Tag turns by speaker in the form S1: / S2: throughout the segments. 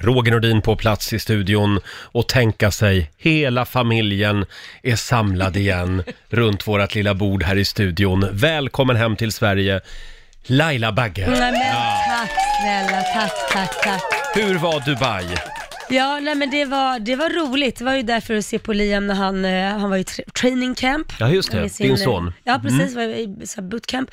S1: Roger Nordin på plats i studion och tänka sig hela familjen är samlad igen runt vårt lilla bord här i studion. Välkommen hem till Sverige, Laila Bagge.
S2: Nej, men tack snälla, tack, tack, tack.
S1: Hur var Dubai?
S2: Ja, nej men det var, det var roligt. Det var ju därför att se på Liam när han, eh, han var i tra- training camp.
S1: Ja, just det.
S2: Med
S1: Din son. Mm.
S2: eh, Ja, precis. Var i så här bootcamp.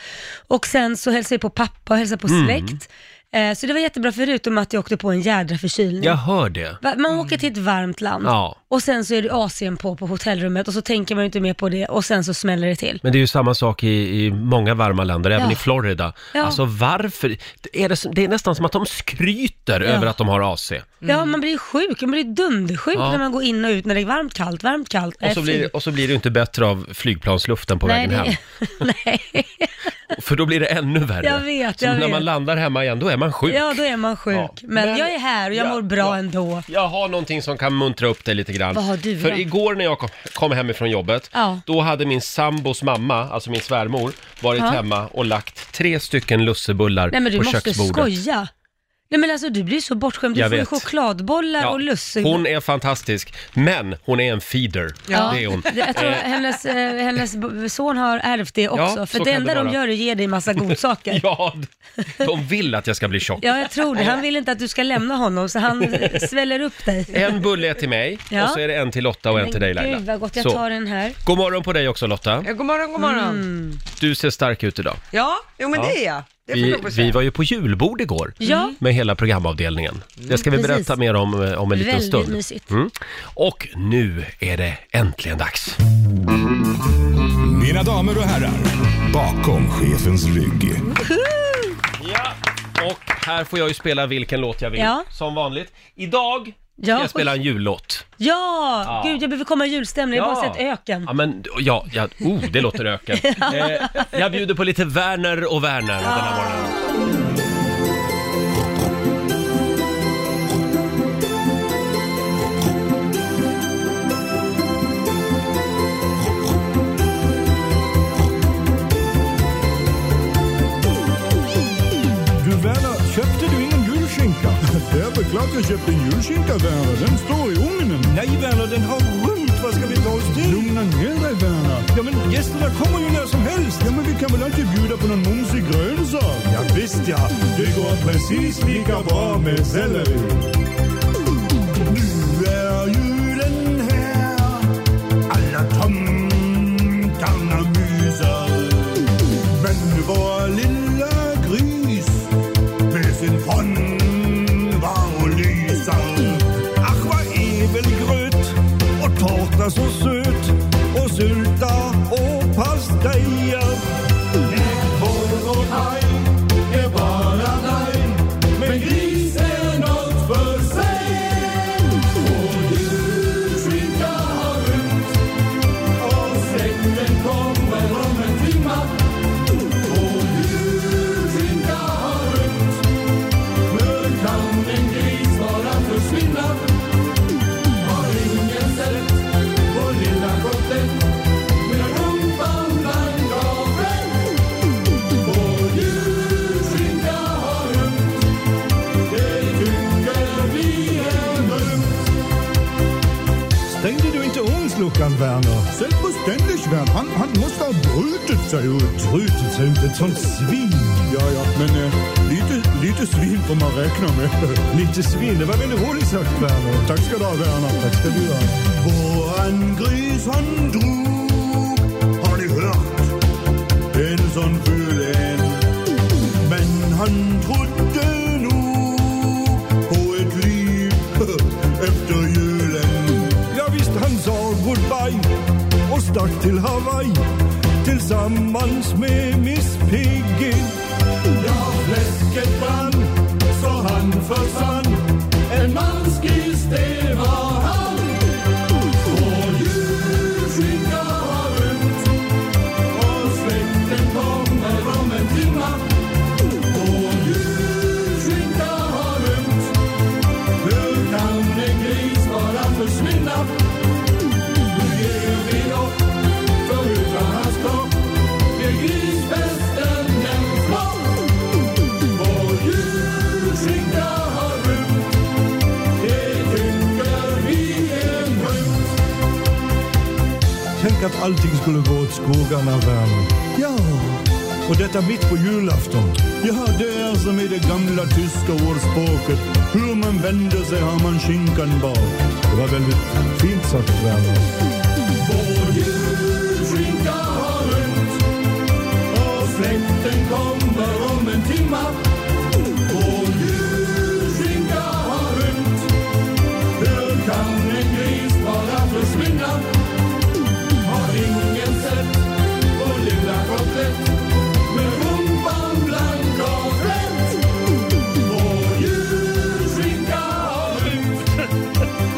S2: Och sen så hälsade vi på pappa och hälsade på
S1: Mm.
S2: släkt. Eh, så det var jättebra förutom att jag åkte på en jädra förkylning.
S1: Jag hör det.
S2: Va- Man åker till ett varmt land
S1: Mm. Ja.
S2: och sen så är det Asien på på hotellrummet och så tänker man ju inte mer på det och sen så smäller det till.
S1: Men det är ju samma sak i, i många varma länder, även
S2: Ja.
S1: i Florida.
S2: Ja.
S1: Alltså varför? Det är, det, det är nästan som att de skryter över att de har AC.
S2: Ja, man blir ju sjuk, man blir dundersjuk
S1: Mm. Ja.
S2: när man går in och ut när det är varmt, kallt, varmt, kallt.
S1: Och så, blir, det- och så blir det ju inte bättre av flygplansluften på vägen hem.
S2: Nej.
S1: För då blir det ännu värre.
S2: Jag vet,
S1: så
S2: jag
S1: när
S2: vet.
S1: man landar hemma igen, då är man sjuk.
S2: Ja, då är man sjuk.
S1: Ja.
S2: Men,
S1: Men-
S2: jag är här och jag
S1: Ja,
S2: mår bra
S1: ja.
S2: ändå.
S1: Jag har någonting som kan muntra upp dig lite grann.
S2: Vad har du
S1: För
S2: då?
S1: igår när jag kom, kom hemifrån jobbet,
S2: Ja.
S1: då hade min sambos mamma, alltså min svärmor, varit
S2: Ja.
S1: hemma och lagt tre stycken lussebullar
S2: Nej men du
S1: på
S2: måste
S1: köksbordet.
S2: skoja. Nej men alltså du blir så bortskämd. Du
S1: Jag
S2: får ju
S1: vet.
S2: chokladbollar
S1: Ja,
S2: och lussebullar.
S1: hon är fantastisk, men hon är en feeder.
S2: Ja,
S1: Det är hon.
S2: det- Jag tror hennes, eh, hennes b- son har ärvt det också.
S1: Ja, så
S2: för det
S1: kan
S2: enda
S1: det
S2: de
S1: vara.
S2: gör är att ge dig massa godsaker. ja.
S1: Ja, de vill att jag ska bli tjock.
S2: ja, jag tror det. Han vill inte att du ska lämna honom så han eh, sväller upp dig.
S1: En bulle är till mig
S2: Ja.
S1: och så är det en till Lotta och en till dig Laila.
S2: Gud vad gott, jag
S1: Så.
S2: tar den här. Mm.
S1: God morgon på dig också Lotta.
S3: Ja, god morgon, god morgon.
S1: Du ser stark ut idag.
S3: Ja, jo men
S1: Ja.
S3: det är jag. Det får
S1: Vi,
S3: jag lov att säga.
S1: vi var ju på julbord igår
S2: Ja. Mm.
S1: med hela programavdelningen.
S3: Mm.
S1: Det ska vi
S2: Precis.
S1: berätta mer om eh, om en liten
S2: Väldigt
S1: stund.
S2: mysigt.
S1: Mm. Och nu är det äntligen dags.
S4: Mina damer och herrar, bakom chefens rygg.
S1: Och här får jag ju spela vilken låt jag vill,
S2: Ja.
S1: som vanligt. Idag ska
S2: Ja,
S1: jag spela
S2: oj.
S1: en jullåt.
S2: Ja!
S1: Ja.
S2: Gud, jag behöver komma i julstämning. Jag har bara sett öken.
S1: Ja, men, ja, ja, oh, det låter öken. eh, jag bjuder på lite Werner och Werner den här morgonen.
S4: Du Werner, köpte du ingen julskinka? Det är väl klart jag köpte en julskinka Werner, den står i ugnen. Nej Werner, den har rymt. Vad ska vi ta oss till? Lugna ner dig Werner. Ja men gästerna kommer ju när som helst. Ja men vi kan väl alltid bjuda på någon mumsig grönsak? Ja visst ja, det går precis lika bra med selleri. Nu är julen här, alla tomtarna myser. Men vår lilla gris med sin pann var och lyser. Ach, vad är väl gröt och tårta så söt och sylta och pastejer. Näbbvårdhaj är bara nej, men gris är nåt för sig. Och julskinka har rymt och släkten kommer om en timma. Stängde du inte ugnsluckan, Werner? Selbstverständlich, Werner. Han, han måste ha brutit sig ut. Brutit sig ut? Ett sånt svin. Ja, ja, men eh, lite, lite svin får man räkna med. lite svin, det var väldigt roligt sagt, Werner. Tack ska du ha, Werner. Tack ska du ha. Våran gris han drog, har ni hört? En sån ful en. Men han trodde nog på ett liv efter julen. Ja, visst, han sa goodbye och stack till Hawaii tillsammans med Miss Piggy. Ja, fläsket brann så han försvann. En mansgris, det var han. Och julskinka har rymt och släkten kommer om en timma. Och julskinka har rymt hur kan en gris bara försvinna? Nu ger vi upp, för utan hans kropp blir grisfesten en flopp. Vår julskinka har rymt tänk att allting skulle gå åt skogarna, Werner. Ja, och detta mitt på julafton. Ja, det är som i det gamla tyska ordspråket. Hur man vänder sig har man skinkan bak. Det var väldigt fint sagt, Werner. Vår julskinka har rymt och släkten kommer om en timma. Vår julskinka har rymt. Hur kan en gris bara försvinna? Har ingen sett vår lilla kotlett med rumpan blank och flätt? Vår julskinka har rymt.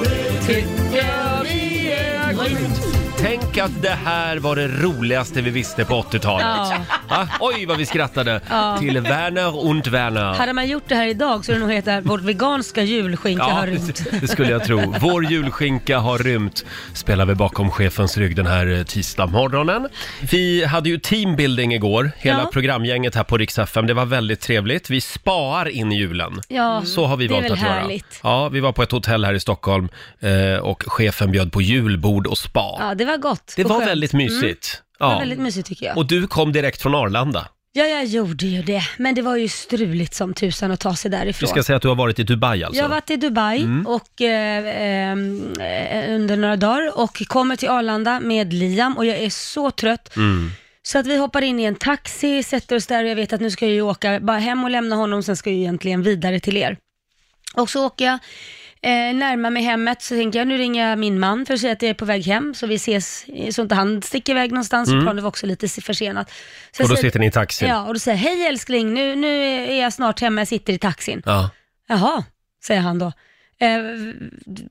S4: Det tycker vi är grymt.
S1: Tänk att det här var det roligaste vi visste på 80-talet.
S2: Ja.
S1: Va? Oj, vad vi skrattade
S2: Ja.
S1: till Werner und Werner.
S2: Hade man gjort det här idag så hade det nog hetat Vårt veganska julskinka har rymt.
S1: det- det skulle jag tro. Vår julskinka har rymt, spelar vi bakom chefens rygg den här eh, tisdagmorgonen. Vi hade ju teambuilding igår, hela
S2: Ja.
S1: programgänget här på Rix FM. Det var väldigt trevligt. Vi spar in julen.
S2: Ja,
S1: Så har vi
S2: det är
S1: valt
S2: väl
S1: att
S2: härligt.
S1: göra. Ja, vi var på ett hotell här i Stockholm eh, och chefen bjöd på julbord och spa.
S2: Ja, det var gott.
S1: det
S2: och
S1: var
S2: skönt.
S1: väldigt
S2: Mm,
S1: mysigt.
S2: det var
S1: Ja.
S2: väldigt mysigt tycker jag.
S1: Och du kom direkt från Arlanda.
S2: Ja, jag gjorde ju det. Men det var ju struligt som tusan att ta sig
S1: Du
S2: därifrån.
S1: ska säga att du har varit i Dubai alltså?
S2: Jag har varit i Dubai
S1: Mm.
S2: och, eh, ehm, eh, under några dagar och kommer till Arlanda med Liam och jag är så trött.
S1: Mm.
S2: Så att vi hoppar in i en taxi, sätter oss där och jag vet att nu ska jag ju åka bara hem och lämna honom, sen ska jag ju egentligen vidare till er. Och så åker jag eh, närmar mig hemmet, så tänker jag nu ringer jag min man för att säga att jag är på väg hem, så vi ses, eh, så inte han sticker iväg någonstans,
S1: Mm.
S2: mm. planet var också lite försenat.
S1: Och
S2: Så jag
S1: då
S2: säger-
S1: sitter ni i taxin?
S2: Ja, och då säger jag, hej älskling, nu, nu är jag snart hemma, jag sitter i taxin.
S1: Ja.
S2: Jaha, säger han då. Eh,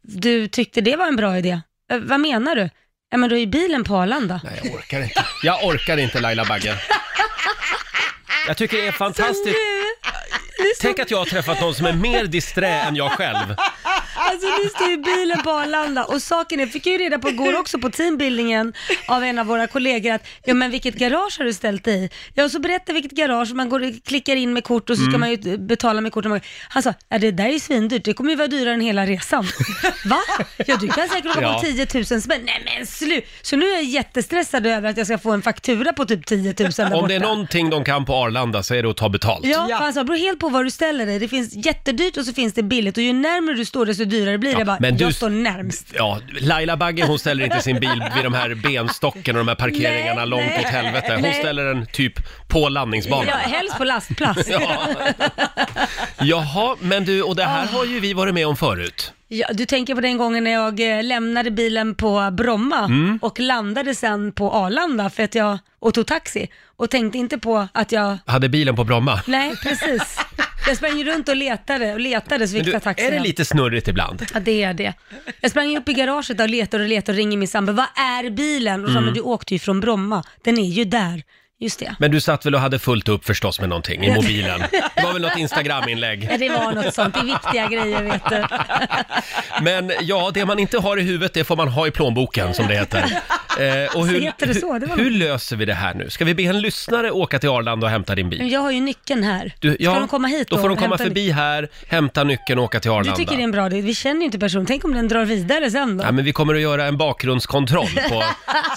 S2: du tyckte det var en bra idé? Eh, vad menar du? Ja, men då är ju bilen på Arlanda.
S1: Nej, jag orkar inte. Jag orkar inte Laila Bagge. Jag tycker det är fantastiskt. Tänk att jag har träffat någon som är mer disträ än jag själv.
S2: Alltså nu står ju bilen på Arlanda och saken är, fick jag ju reda på igår också på teambuildingen av en av våra kollegor att, ja men vilket garage har du ställt dig i? Ja och så berättar vilket garage, man går, och klickar in med kort och så ska
S3: Mm.
S2: man ju betala med kort. Han sa, ja det där är ju svindyrt, det kommer ju vara dyrare än hela resan. Va? Ja du kan säkert åka
S3: Ja.
S2: på 10 000 spänn. Nej men slut! Så nu är jag jättestressad över att jag ska få en faktura på typ 10 000 där borta.
S1: Om det är någonting de kan på Arlanda så är det att ta betalt.
S2: Ja, för han sa, det beror helt på var du ställer dig. Det finns jättedyrt och så finns det billigt och ju närmare du står desto dyrare blir det. Jag bara,
S1: men du-
S2: jag står närmst.
S1: Ja, Laila Bagge hon ställer inte sin bil vid de här benstocken och de här parkeringarna
S2: Nej,
S1: långt
S2: nej.
S1: åt helvete. Hon
S2: Nej.
S1: ställer den typ på landningsbanan.
S2: Ja, helst på lastplats.
S1: Ja. Jaha, men du, och det här
S2: Ah.
S1: har ju vi varit med om förut.
S2: Ja, du tänker på den gången när jag eh, lämnade bilen på Bromma
S1: Mm.
S2: och landade sen på Arlanda för att jag, och tog taxi och tänkte inte på att jag,
S1: Hade bilen på Bromma.
S2: nej precis. Jag sprang ju runt och letade och letade så
S1: Men
S2: fick
S1: du,
S2: jag taxi.
S1: är det
S2: hem.
S1: lite snurrigt ibland?
S2: Ja, det är det. Jag sprang upp i garaget och letade och letade och ringde min sambo. Vad är bilen? Och sa,
S1: Mm.
S2: men du åkte ju från Bromma. Den är ju där. Just det.
S1: Men du satt väl och hade fullt upp förstås med någonting i mobilen? Det var väl något Instagram-inlägg?
S2: Ja, det var något sånt. Det är viktiga grejer, vet du.
S1: Men ja, det man inte har i huvudet det får man ha i plånboken som det heter. Eh, och hur,
S2: Så heter det så? Det var
S1: hur, hur löser vi det här nu? Ska vi be en lyssnare åka till Arlanda och hämta din
S2: Men
S1: bil?
S2: jag har ju nyckeln här.
S1: Du, ja,
S2: Mm. Ska de komma hit
S1: Då får de
S2: och
S1: komma
S2: hämta
S1: förbi här, hämta nyckeln och åka till
S2: Du
S1: Arlanda.
S2: tycker det är en bra idé. Vi känner ju inte personen. Tänk om den drar vidare sen då?
S1: Ja, men vi kommer att göra en bakgrundskontroll på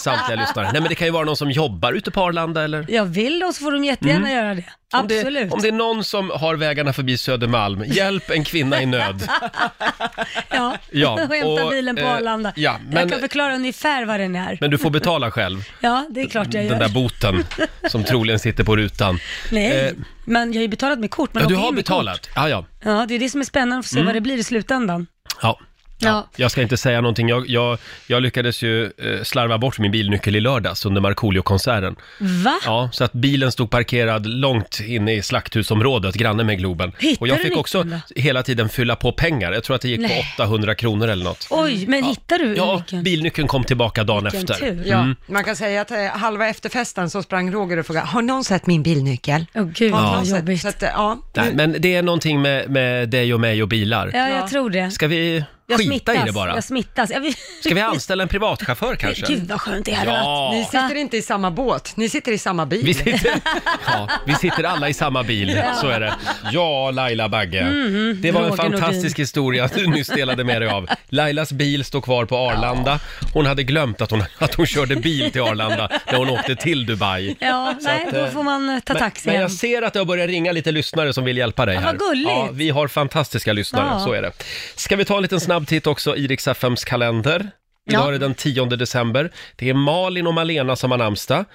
S1: samtliga lyssnare. Nej, men det kan ju vara någon som jobbar ute på Arlanda eller?
S2: Jag vill och så får de jättegärna
S1: Mm.
S2: göra det.
S1: Om det,
S2: Absolut.
S1: om det är någon som har vägarna förbi Södermalm, hjälp en kvinna i nöd.
S2: ja.
S1: Ja,
S2: och hämta
S1: och,
S2: bilen på
S1: eh,
S2: Arlanda.
S1: ja, men-
S2: Jag kan förklara ungefär vad den är.
S1: Men du får betala själv,
S2: Ja, det är klart jag
S1: den
S2: gör.
S1: där boten som troligen sitter på rutan.
S2: Nej,
S1: Eh,
S2: men jag har ju betalat med kort. Man
S1: ja, du
S2: åker
S1: har
S2: in med
S1: betalat? Ja, ja.
S2: Kort. Ja, det är det som är spännande, att se
S1: Mm.
S2: vad det blir i slutändan.
S1: ja.
S2: Ja.
S1: Jag ska inte säga någonting. Jag, jag, jag lyckades ju eh, slarva bort min bilnyckel i lördags under Markoolio-konserten.
S2: Va?
S1: Ja, så att bilen stod parkerad långt inne i slakthusområdet, granne med Globen.
S2: Hittade
S1: Och jag
S2: du
S1: fick
S2: nyckeln
S1: också
S2: då?
S1: hela tiden fylla på pengar. Jag tror att det gick
S2: Nej.
S1: på 800 kronor eller något.
S2: Oj, men hittar du
S1: Ja,
S2: nyckeln?
S1: bilnyckeln kom tillbaka dagen
S2: Vilken
S1: efter.
S2: tur.
S5: Ja,
S1: Mm.
S5: man kan säga att eh, halva efterfesten så sprang Roger och frågade, har någon sett min bilnyckel?
S2: Åh gud,
S5: Har
S1: Ja.
S5: någon sett? Så att, eh, ja.
S1: Nej, men det är någonting med, med dig och mig och bilar.
S2: Ja, Mm. jag tror det.
S1: Ska vi
S2: Jag
S1: Skita i
S2: smittas.
S1: det bara.
S2: Jag smittas. Jag,
S1: Ska vi anställa en privatchaufför kanske?
S2: Gud vad skönt det hade
S1: Ja.
S2: varit.
S5: Ni sitter inte i samma båt, ni sitter i samma bil.
S1: Vi sitter, ja, vi sitter alla i samma bil, så är det. Ja, Laila Bagge. Det var en
S2: Mm-hmm. Roger Nordin.
S1: fantastisk historia du nyss delade med dig av. Lailas bil står kvar på Arlanda. Hon hade glömt att hon, att hon körde bil till Arlanda när hon åkte till Dubai.
S2: Ja, nej,
S1: att, eh,
S2: då får man eh, ta
S1: Men,
S2: taxi
S1: men
S2: hem.
S1: jag ser att det har börjat ringa lite lyssnare som vill hjälpa dig
S2: Ja,
S1: här.
S2: vad gulligt.
S1: Ja, vi har fantastiska lyssnare,
S2: Ja.
S1: så är det. Ska vi ta en liten snabb titt också i Rix FMs kalender? Idag
S2: Ja.
S1: är det den 10 december. Det är Malin och Malena som har namnsdag.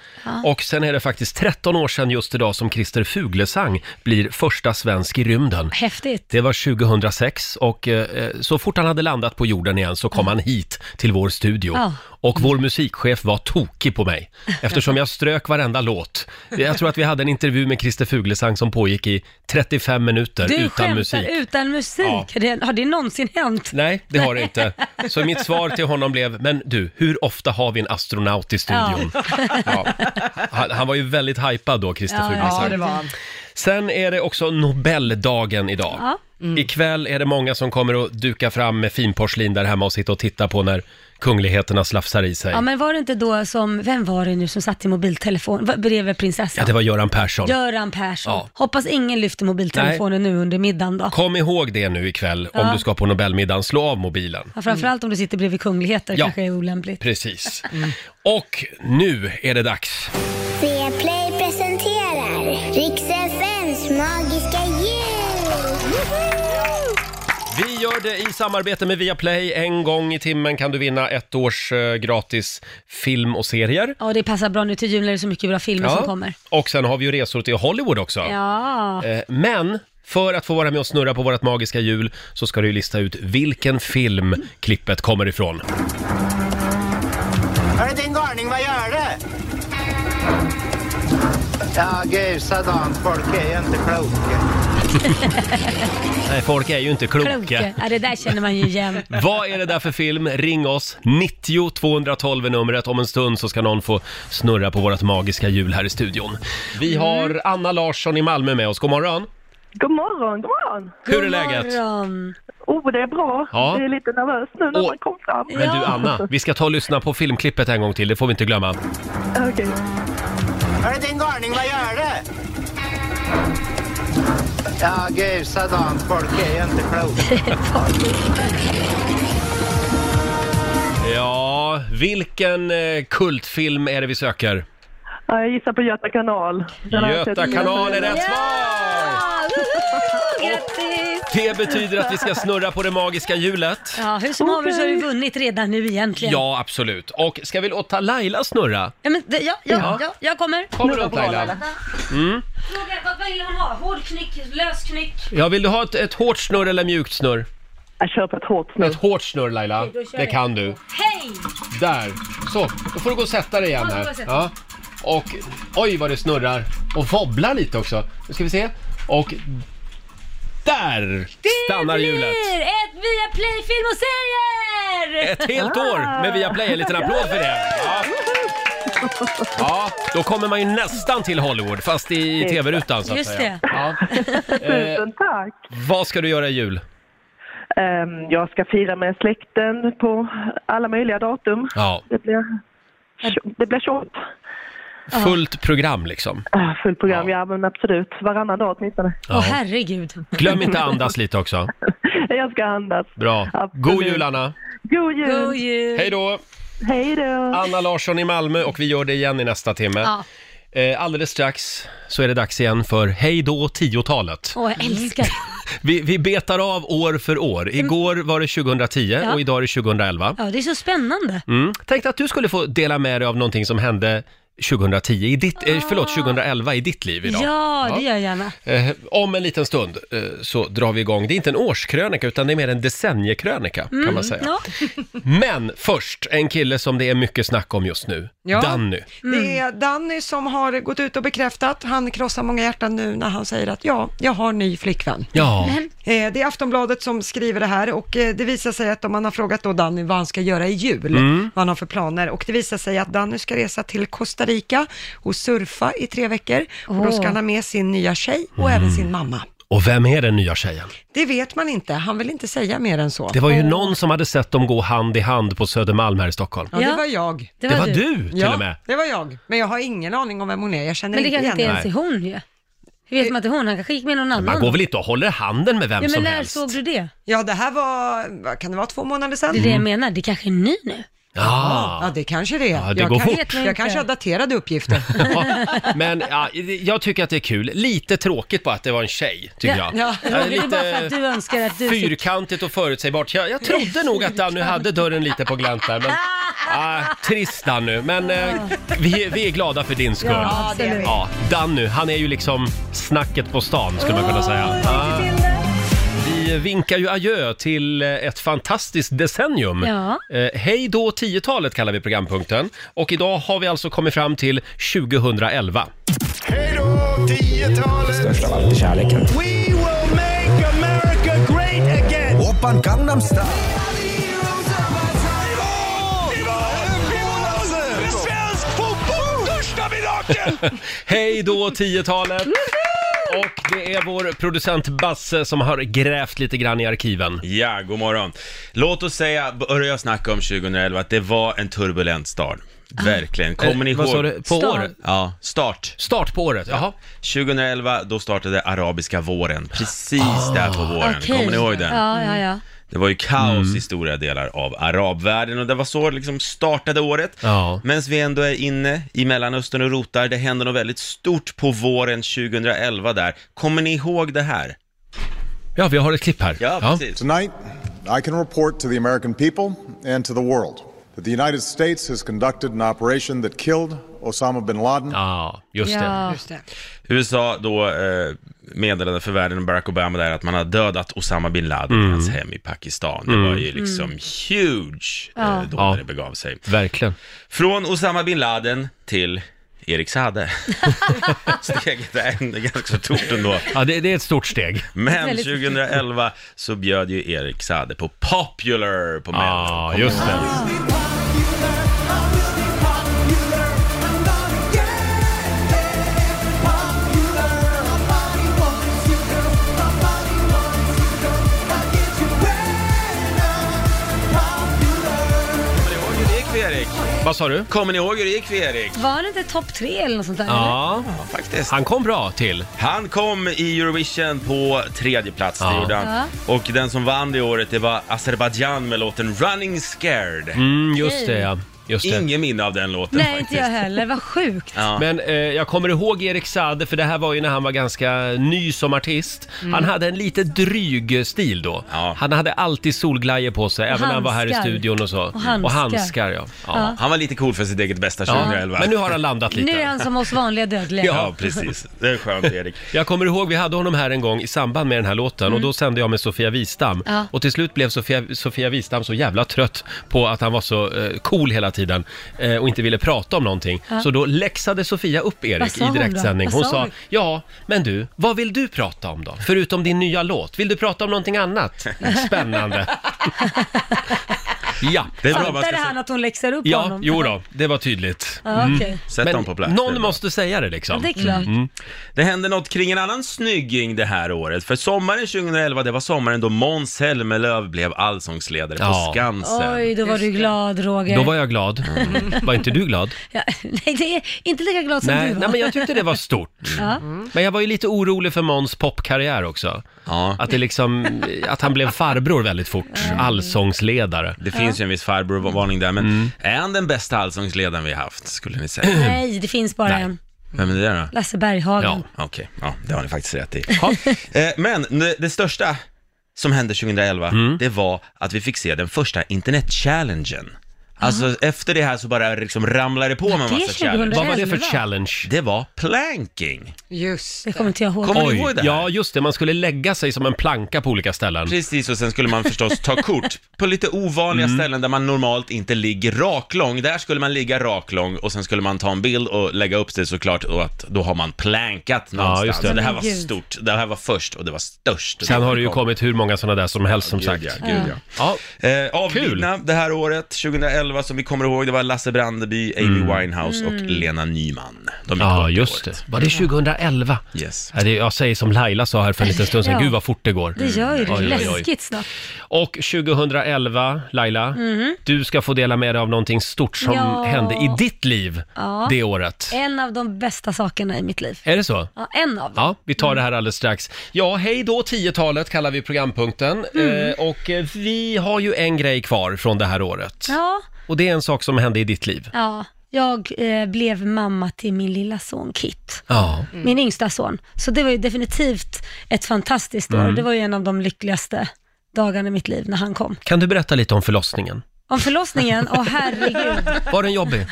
S1: Och sen är det faktiskt 13 år sedan just idag som Christer Fuglesang blir första svensk i rymden.
S2: Häftigt.
S1: Det var 2006 och eh, så fort han hade landat på jorden igen så kom han hit till vår studio.
S2: Ja.
S1: Och vår musikchef var tokig på mig eftersom jag strök varenda låt. Jag tror att vi hade en intervju med Christer Fuglesang som pågick i 35 minuter
S2: Du
S1: utan
S2: skämtar,
S1: musik.
S2: utan musik.
S1: Ja.
S2: Har det- Har det någonsin hänt?
S1: Nej, det har det inte. Så mitt svar till honom blev, men du, hur ofta har vi en astronaut i studion? Ja. Han, han var ju väldigt hypad då, Christer
S2: Ja, ja.
S1: Fuglesang.
S5: Ja, det var han.
S1: Sen är det också Nobeldagen idag.
S2: Ja. Mm.
S1: Ikväll är det många som kommer att duka fram med finporslin där hemma och sitta och titta på när kungligheterna slafsar i sig.
S2: Ja,
S1: Ja,
S2: men var det inte då som, vem var det nu som satt i mobiltelefon va- bredvid prinsessan?
S1: det var Göran Persson.
S2: Göran Persson.
S1: Ja.
S2: Hoppas ingen lyfter mobiltelefonen nu under middagen då.
S1: Kom ihåg det nu ikväll om
S2: Ja.
S1: du ska på Nobelmiddagen. Slå av mobilen.
S2: Ja, framförallt om du sitter bredvid kungligheter
S1: Ja.
S2: kanske är olämpligt.
S1: Precis. Och nu är det dags.
S3: Viaplay presenterar Rix FMs magiska jul! Woho!
S1: Vi gör det i samarbete med Viaplay. En gång i timmen kan du vinna ett års eh, gratis film och serier.
S2: Ja, det passar bra nu till jul när det är så mycket bra filmer som kommer.
S1: Och sen har vi ju resor till Hollywood också.
S2: Ja,
S1: Eh, Men för att få vara med och snurra på vårt magiska hjul så ska du ju lista ut vilken film klippet kommer ifrån.
S6: Hörru din galning, vad gör du? Ja, gusadans, folk är ju inte kloka.
S1: Nej, folk är ju inte kloka.
S2: Kroke. Ja, det där känner man ju igen.
S1: Vad är det där för film? Ring oss! 90 212 är numret. Om en stund så ska någon få snurra på vårt magiska hjul här i studion.
S2: Mm.
S1: Vi har Anna Larsson i Malmö med oss. God morgon!
S7: God morgon, god morgon!
S1: Hur är
S2: God
S1: läget?
S2: morgon.
S7: Oh, det är bra.
S1: Ja.
S7: Jag är lite nervös nu när
S1: Åh.
S7: man kom fram.
S1: Men du
S2: Ja.
S1: Anna, vi ska ta och lyssna på filmklippet en gång till, det får vi inte glömma.
S7: Okej.
S6: Hörru din galning, vad gör du? Ja, gusadans, folk är ju inte kloka.
S1: Ja, vilken eh, kultfilm är det vi söker?
S7: Ja, jag gissar på Göta kanal. Den har jag
S1: Göta
S7: sett.
S1: kanal är rätt
S2: Ja!
S1: svar!
S2: Woho! Grattis!
S1: Det betyder att vi ska snurra på det magiska hjulet.
S2: Ja, hur som haver så har du vunnit redan nu egentligen.
S1: Ja, absolut. Och ska vi låta Laila snurra?
S2: Ja, men, det- ja, ja, ja, jag kommer.
S1: Kommer runt Laila. Mm.
S2: Vad vill hon ha? Hård knyck, lös knyck?
S1: Ja, vill du ha ett, ett hårt snurr eller mjukt snurr?
S7: Jag kör på ett hårt snurr.
S1: Ett hårt snurr Laila,
S2: då kör
S1: det
S2: jag.
S1: kan du.
S2: Hej!
S1: Där, så. Då får du gå och sätta dig igen
S2: Ja, då går jag
S1: här.
S2: och sätter
S1: Ja. Och oj vad det snurrar och wobblar lite också. Nu ska vi se. Och där stannar hjulet.
S2: blir ett Viaplay film och serier! Ah.
S1: Ett
S7: Ah.
S1: helt år med Viaplay. En liten applåd för det. Ja. ja, då kommer man ju nästan till Hollywood, fast i tv-rutan så att
S2: Just
S1: säga.
S2: det.
S1: Ja. Eh.
S7: Tusen tack!
S1: Vad ska du göra i jul?
S7: Ehm, jag ska fira med släkten på alla möjliga datum.
S1: Ja,
S7: Det blir, det blir tjockt.
S1: fullt program liksom.
S7: Ah, Fullt program, ja. men absolut. Varannan dag åtminstone.
S2: Åh herregud.
S1: Glöm inte andas lite också.
S7: Jag ska andas.
S1: Bra.
S7: Absolut.
S1: God jul Anna!
S7: God jul!
S2: God jul.
S1: Hej då!
S7: Hej då!
S1: Anna Larsson i Malmö och vi gör det igen i nästa timme.
S2: Ja.
S1: Eh, Alldeles strax så är det dags igen för Hej då 10-talet.
S2: Åh, jag älskar det.
S1: Vi, vi betar av år för år. Igår var det 2010
S2: Mm. Ja.
S1: och idag är det 2011.
S2: Ja, det är så spännande.
S1: Mm. Tänkte att du skulle få dela med dig av någonting som hände 2010 i ditt, eh, förlåt, 2011 i ditt liv idag.
S2: Ah. Ja, det gör jag gärna.
S1: Eh, om en liten stund eh, så drar vi igång. Det är inte en årskrönika utan det är mer en decenniekrönika kan
S5: Mm,
S1: man säga.
S2: Mm, Ja.
S1: Men först, en kille som det är mycket snack om just nu.
S5: Ja.
S1: Danny.
S5: Det är Danny som har gått ut och bekräftat, han krossar många hjärtan nu när han säger att ja, jag har ny flickvän.
S1: Ja,
S5: Eh, Det är Aftonbladet som skriver det här och eh, det visar sig att om man har frågat då Danny vad han ska göra i jul,
S1: Mm.
S5: vad han har för planer och det visar sig att Danny ska resa till Costa Rica och surfa i tre veckor och då
S2: Åh.
S1: Mm.
S5: ska han ha med sin nya tjej och även sin mamma.
S1: Och vem är den nya tjejen?
S5: Det vet man inte, han vill inte säga mer än så.
S1: Det var ju någon som hade sett dem gå hand i hand på Södermalm här i Stockholm.
S5: Ja,
S2: Ja.
S5: det var jag.
S1: Det var, du till
S5: ja,
S1: och med.
S5: det var jag. Men jag har ingen aning om vem hon är, jag känner
S2: Men det
S5: inte
S2: kanske
S5: igen Eh,
S2: inte
S5: henne.
S2: ens är hon ju. Hur vet man att det är hon? Han kanske gick med någon annan.
S1: Man går väl inte och håller handen med vem
S2: ja, men
S1: som
S2: när
S1: helst?
S2: såg du det?
S5: Ja, det här var, vad kan det vara, två månader sedan?
S2: Det är det jag menar, det kanske är ny nu.
S5: Ja,
S1: Ja.
S5: det kanske det är.
S1: Ah. Ja, det
S5: jag
S1: går
S5: kan-
S1: fort.
S2: Vet man
S5: Jag
S2: inte.
S5: kanske har daterade uppgifter.
S1: Ja, men ja, jag tycker att det är kul. Lite tråkigt bara att det var en tjej, tycker
S2: Ja.
S1: jag.
S5: Ja.
S1: Jag
S2: Det
S1: är
S2: är bara för att du önskar att du fick...
S1: Fyrkantigt och förutsägbart. Jag, jag trodde nog att Danny hade dörren lite på glänt där, men ah, trist Danny. Men eh, vi, vi är glada för din skull.
S2: Ja,
S5: det är
S2: absolut.
S1: Ja, Danny, han är ju liksom snacket på stan skulle man kunna säga. Ja. Vi vinkar ju adjö till eh, ett fantastiskt decennium.
S2: Ja.
S1: Eh, hej då 10-talet kallar vi programpunkten och idag har vi alltså kommit fram till 2011.
S6: Hej då, 10-talet! Störst av allt är kärleken. We will make America great again!
S8: Oppan Gangnam Style.
S1: Hej då 10-talet! Och det är vår producent Basse som har grävt lite grann i arkiven.
S9: Ja, god morgon. Låt oss säga, börja snacka om 2011, att det var en turbulent start. Verkligen. Kommer ni
S1: Eh, Vad sa
S9: ihåg?
S1: du? På
S2: Ah. Start.
S1: året?
S9: Ja, start.
S1: Start på året, jaha.
S9: 2011, då startade arabiska våren. Precis
S1: Ah.
S9: där på våren.
S2: Okej.
S9: Kommer ni ihåg den?
S2: Ja, ja, ja.
S9: Det var ju kaos
S1: Mm.
S9: i stora delar av arabvärlden och det var så det liksom startade året.
S1: Ja.
S9: Medan vi ändå är inne i Mellanöstern och rotar, det hände något väldigt stort på våren 2011 där. Kommer ni ihåg det här?
S1: Ja, vi har ett klipp här.
S9: Ja, precis.
S10: Tonight, I can report to the American people and to the world that the United States has conducted an operation that killed Osama bin Laden.
S1: Ja, just det.
S2: ja.
S5: Just det.
S9: USA då eh, meddelade för världen och Barack Obama där att man har dödat Osama bin Laden
S1: Mm.
S9: i hans hem i Pakistan. Det var ju liksom huge eh, då
S1: Ja.
S9: när det begav sig.
S1: Verkligen.
S9: Från Osama bin Laden till Erik Sade. Steget är ändå ganska stort ändå.
S1: Ja, det, det är ett stort steg.
S9: Men
S2: Väldigt stort.
S9: 2011 så bjöd ju Erik Sade på Popular på Mello.
S1: Ja, Ah, just det.
S9: Kommer ni ihåg hur det gick för Erik?
S1: Vad sa du?
S9: Kommer ni ihåg hur det gick för Erik?
S2: Var det inte topp tre eller något sånt där? eller?
S1: Ja,
S9: Ja, faktiskt.
S1: han kom bra till.
S9: Han kom i Eurovision på tredje plats, det
S1: Ja.
S9: gjorde han. Och den som vann det året, det var Azerbaijan med låten Running Scared.
S1: Mm, just det, ja. Just det.
S9: Ingen minne av den låten
S2: Nej,
S9: faktiskt.
S2: inte jag heller. Vad sjukt.
S9: Ja.
S1: Men eh, jag kommer ihåg Erik Saade, för det här var ju när han var ganska ny som artist.
S2: Mm.
S1: Han hade en lite dryg eh, stil då.
S9: Ja.
S1: Han hade alltid solglajjor på sig, även när han var här i
S2: handskar.
S1: studion och så.
S2: Och handskar.
S1: ja. ja.
S2: Ja.
S9: Han var lite cool för sitt eget bästa
S1: Ja.
S9: 2011.
S1: Men nu har han landat
S2: Nu
S1: lite.
S2: är han som oss vanliga dödliga.
S9: Ja, precis. Det är skönt, Erik.
S1: Jag kommer ihåg, vi hade honom här en gång i samband med den här låten och då sände jag med Sofia Wistam.
S2: Mm. Ja.
S1: Och till slut blev Sofia, Sofia Wistam så jävla trött på att han var så eh, cool hela tiden eh, och inte ville prata om någonting. Så då läxade Sofia upp
S2: Vad
S1: Erik
S2: sa
S1: i
S2: hon då?
S1: direktsändning.
S2: Vad
S1: Hon
S2: sa
S1: sa,
S2: hon?
S1: ja, men du, vad vill du prata om då? Förutom din nya låt, vill du prata om någonting annat? Spännande. ja.
S9: Det är bra, man
S2: Fattade
S9: ska
S2: han
S9: se-
S2: att hon läxar upp
S1: Ja,
S2: honom?
S1: jo då, det var tydligt. Mm.
S2: Ja, okej.
S9: sätta
S1: Men
S9: dem på plats. det är
S1: någon
S9: bra.
S1: måste säga det
S2: Ja,
S1: liksom.
S2: det är klart.
S9: Det hände något kring en annan snygging det här året. För sommaren 2011, det var sommaren då Måns Zelmerlöw blev allsångsledare
S1: Ja.
S9: på Skansen. Mm.
S2: Oj, då var du glad Roger.
S1: Då var jag glad. Var inte du glad?
S2: Ja, nej, det är inte lika glad som
S1: Nej,
S2: du var.
S1: nej, men jag tyckte det var Mm. stort.
S2: Ja.
S1: Men jag var ju lite orolig för Måns popkarriär också.
S9: Ja.
S1: Att, det liksom, att han blev farbror väldigt fort,
S2: Mm.
S1: allsångsledare. Mm.
S9: Det finns ju en viss farbrorvarning där, men är han den bästa allsångsledaren vi har haft, skulle ni säga?
S2: Nej, det finns bara en.
S9: Vem är det då?
S2: Lasse Berghagen.
S1: Ja.
S9: Okej, ja, det har ni faktiskt rätt i. Eh, Men n- det största som hände 2011,
S1: Mm.
S9: det var att vi fick se den första internetchallengen. Alltså
S1: Ah.
S9: efter det här så bara liksom ramlade det på med en
S2: det
S9: massa
S2: 2011?
S9: challenge.
S1: Vad var det för
S2: Elva.
S1: challenge?
S9: Det var planking.
S5: Just
S2: Det kommer inte jag ihåg.
S9: Kommer ni ihåg det här?
S1: ja just det, man skulle lägga sig som en planka på olika ställen.
S9: Precis, och sen skulle man förstås ta kort på lite ovanliga
S1: Mm.
S9: ställen där man normalt inte ligger raklång. Där skulle man ligga raklång och sen skulle man ta en bild och lägga upp det såklart och att då har man plankat någonstans.
S1: just det.
S9: det. här
S2: Men
S9: var
S2: gud.
S9: stort, det här var först och det var störst.
S1: Sen har det ju kommit hur många sådana där som helst som
S9: Gud,
S1: sagt.
S9: ja, gud, ja.
S1: Ja,
S9: Eh, avlidna det här året, 2011, elva som vi kommer ihåg, det var Lasse Brandeby, Amy Winehouse och Lena Nyman. De gick
S1: Mm. Ja,
S9: bort
S1: just
S9: året.
S1: det. Var det 2011?
S9: Yes.
S1: Ja, det, jag säger som Laila sa här för en liten stund sedan,
S2: Ja.
S1: gud vad fort det går.
S2: Det gör ju det.
S1: Mm. Oj, oj, oj.
S2: Läskigt snabbt.
S1: Och 2011, Laila,
S2: Mhm.
S1: du ska få dela med dig av någonting stort som
S2: Ja.
S1: hände i ditt liv
S2: Ja.
S1: det året.
S2: En av de bästa sakerna i mitt liv.
S1: Är det så?
S2: Ja, en av dem.
S1: Ja, vi tar det här alldeles strax. Ja, hej då 10-talet kallar vi programpunkten.
S2: Mm.
S1: Eh, och eh, vi har ju en grej kvar från det här året.
S2: Ja,
S1: Och det är en sak som hände i ditt liv.
S2: ja. Jag eh, blev mamma till min lilla son Kit,
S1: Ja.
S2: min yngsta son. Så det var ju definitivt ett fantastiskt år.
S1: Mm.
S2: Det var ju en av de lyckligaste dagarna i mitt liv när han kom.
S1: Kan du berätta lite om förlossningen?
S2: Om förlossningen, åh herregud.
S1: Var den jobbig?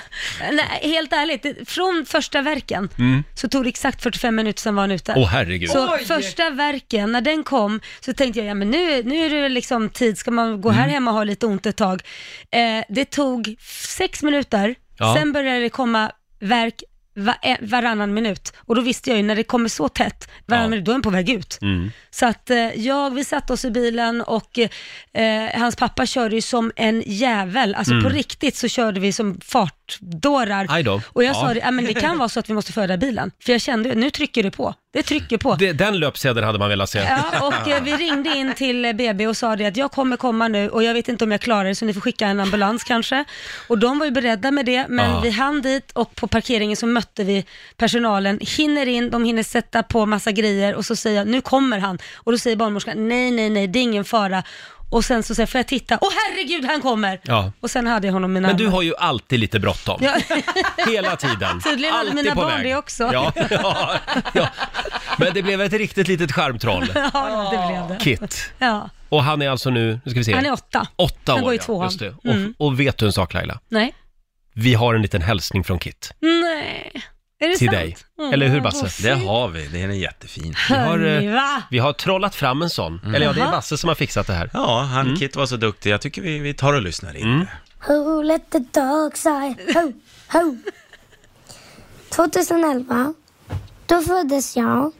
S2: Nej, helt ärligt, det- från första verken så tog det exakt 45 minuter, sen var han ute.
S1: Mm. Åh herregud.
S2: Så
S5: Oj!
S2: första verken, när den kom, så tänkte jag, ja men nu, nu är det liksom tid, ska man gå här
S1: Mm.
S2: hemma och ha lite ont ett tag. Eh, det tog f- sex minuter,
S1: Ja.
S2: sen började det komma verk va- eh, varannan minut. Och då visste jag ju, när det kommer så tätt, varannan
S1: Ja.
S2: minut, då är den på väg ut.
S1: Mm.
S2: Så att eh, jag, vi satte oss i bilen och eh, hans pappa körde ju som en jävel. Alltså på riktigt så körde vi som fartdårar.
S1: Mm. Aj då.
S2: Och jag
S1: Ja.
S2: sa det, "Ja, men det kan vara så att vi måste föda bilen. För jag kände, nu trycker det på. Det trycker på.
S1: Det, den löpsedeln hade man velat se.
S2: Ja, och eh, vi ringde in till eh, BB och sa det att jag kommer komma nu och jag vet inte om jag klarar det så ni får skicka en ambulans kanske. Och de var ju beredda med det, men
S1: Ja.
S2: vi hann dit och på parkeringen så mötte vi personalen, hinner in, de hinner sätta på massa grejer och så säger jag, nu kommer han. Och då säger barnmorskan, nej, nej, nej, det är ingen fara. Och sen så säger jag, får jag titta? Åh herregud, han kommer!
S1: Ja.
S2: Och sen hade jag honom i mina
S1: Men du
S2: armar.
S1: har ju alltid lite bråttom. Hela tiden.
S2: Tydligen hade
S1: alltid
S2: mina
S1: på
S2: barn
S1: väg.
S2: det också.
S1: Ja, ja, ja. Men det blev ett riktigt litet skärmtroll,
S2: Ja, det blev det.
S1: Kit.
S2: Ja,
S1: Och han är alltså nu, nu ska vi se.
S2: han är åtta.
S1: Åtta
S2: Han
S1: år,
S2: går i
S1: ja.
S2: tvåan.
S1: Just det. Och,
S2: Mm.
S1: och vet du en sak Laila?
S2: Nej.
S1: Vi har en liten hälsning från Kit
S2: Nej. Är det
S1: till
S2: sant? Mm.
S1: dig.
S2: Åh,
S1: Eller hur
S2: vad
S1: Basse?
S9: Det har vi, den är jättefin.
S1: Vi har,
S2: Hörni,
S1: eh,
S2: va?
S1: vi har trollat fram en sån. Eller ja, det är Basse som har fixat det här. Mm.
S9: Ja, han Kit var så duktig. Jag tycker vi, vi tar och lyssnar in.
S3: Who let the dogs out? Ho, ho. 2011, då föddes jag.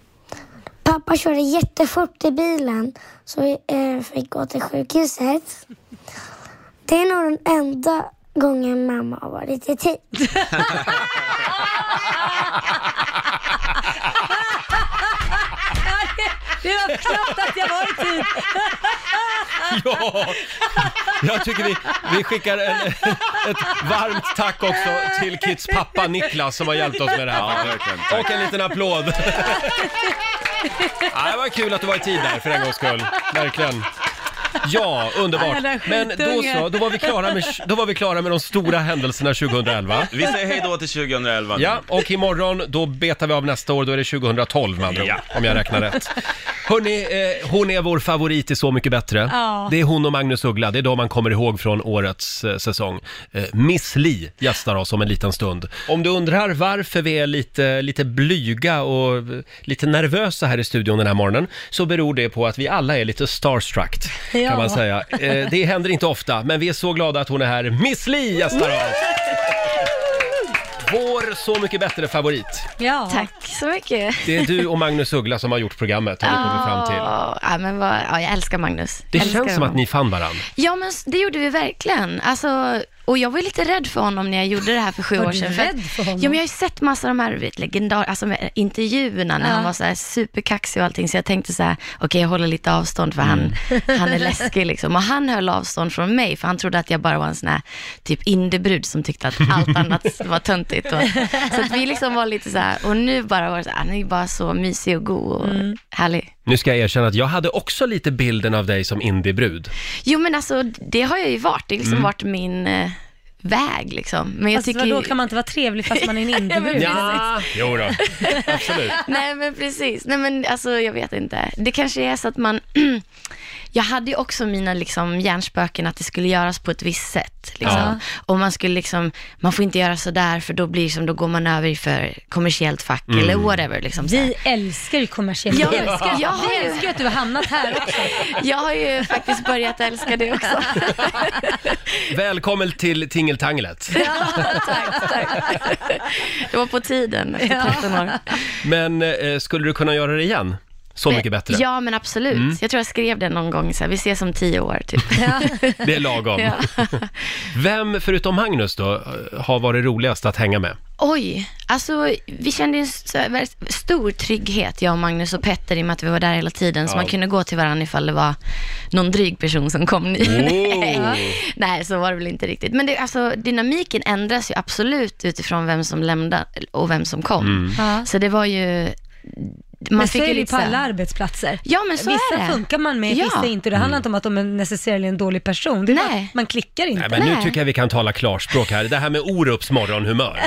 S3: Pappa körde jättefort i bilen så vi eh, fick gå till sjukhuset. Det är nog den enda gången mamma har varit i tid.
S2: Det var knappt att jag var i tid.
S1: Ja! Jag tycker vi, vi skickar en, ett varmt tack också till Kits pappa Niklas som har hjälpt oss med det här. Och en liten applåd. Ja, det var kul att du var i tid där för en gångs skull. Verkligen. Ja,
S2: Ja,
S1: underbart.
S2: jävla
S1: Men då
S2: skitunge.
S1: så, då var vi klara med, då var vi klara med de stora händelserna 2011.
S9: Vi säger hej då till 2011 nu.
S1: Ja, och imorgon då betar vi av nästa år, då är det 2012 med andra ord, om jag räknar rätt. Hörrni, eh, hon är vår favorit i Så mycket bättre.
S2: Ja.
S1: Det är hon och Magnus Uggla, det är de man kommer ihåg från årets eh, säsong. Eh, Miss Li gästar oss om en liten stund. Om du undrar varför vi är lite, lite blyga och eh, lite nervösa här i studion den här morgonen, så beror det på att vi alla är lite starstruck,
S2: Ja.
S1: kan man säga. Eh, det händer inte ofta, men vi är så glada att hon är här. Miss Li gästar oss! Vår Så mycket bättre favorit.
S2: Ja.
S8: Tack så mycket.
S1: Det är du och Magnus Uggla som har gjort programmet, har vi kommit fram till.
S8: Ja, ja, men vad, ja, jag älskar Magnus.
S1: Det
S8: Jag älskar
S1: känns som att
S8: honom.
S1: ni fann varann.
S8: Ja, men s- det gjorde vi verkligen. Alltså, och jag var ju lite rädd för honom när jag gjorde det här för sju
S2: Var
S8: år
S2: du
S8: sedan.
S2: rädd
S8: att-
S2: för honom?
S8: Ja, men jag har ju sett massa av de här vet, legendar, alltså, med intervjuerna när
S2: Ja.
S8: han var så här superkaxig och allting, så jag tänkte så här, okej, jag håller lite avstånd för han,
S2: Mm.
S8: han är läskig liksom. Och han höll avstånd från mig, för han trodde att jag bara var en sån här typ indebrud som tyckte att allt annat var töntigt. Och, så att vi liksom var lite så här, och nu bara var det så här, han är ju bara så mysig och god och
S2: Mm.
S8: härlig.
S1: Nu ska jag erkänna att jag hade också lite bilden av dig som indiebrud.
S8: Jo men alltså det har jag ju varit, det har
S1: Mm.
S8: liksom varit min eh, väg liksom. Men jag
S2: Fast
S8: tycker
S2: då
S8: ju-
S2: Alltså, kan man inte vara trevlig fast man är en individ?
S1: Ja, jo då. absolut.
S8: Nej men precis, nej men alltså jag vet inte. Det kanske är så att man, jag hade ju också mina liksom hjärnspöken att det skulle göras på ett visst sätt. Liksom.
S1: Ja.
S8: Och man skulle liksom, man får inte göra sådär för då blir det som, då går man över i för kommersiellt fack
S1: Mm.
S8: eller whatever liksom. så här.
S2: Vi älskar ju kommersiella
S8: Jag
S2: Vi älskar,
S8: älskar- jag har
S2: vi
S8: ju-
S2: älskar att du har hamnat här också.
S8: Jag har ju faktiskt börjat älska det också.
S1: Välkommen till Tingeltanglet.
S8: tack, tack. Det var på tiden efter 13 år.
S1: Men eh, skulle du kunna göra det igen? Så mycket bättre.
S8: Ja, men absolut.
S1: Mm.
S8: Jag tror jag skrev det någon gång, så här, vi ses om tio år typ.
S1: Det är lagom.
S8: Ja.
S1: Vem, förutom Magnus då, har varit roligast att hänga med?
S8: Oj, alltså vi kände en så här väldigt stor trygghet, jag och Magnus och Petter, i och med att vi var där hela tiden, så
S1: Ja.
S8: man kunde gå till varandra ifall det var någon dryg person som kom ny.
S6: Oh.
S8: Nej, så var det väl inte riktigt. Men det, alltså, dynamiken ändras ju absolut utifrån vem som lämnade och vem som kom.
S6: Mm.
S2: Ja.
S8: Så det var ju... Man
S2: men så
S8: fick
S2: är
S8: ju
S2: det ju
S8: lite
S2: på
S8: så här-
S2: alla arbetsplatser.
S8: Ja, men så är
S2: vissa
S8: det.
S2: funkar man med,
S8: Ja.
S2: vissa inte. Det handlar inte om att de är necessarligen en dålig person. Det är bara att man klickar inte.
S1: Mm. Nej, men nu tycker jag vi kan tala klarspråk här. Det här med Orups morgonhumör.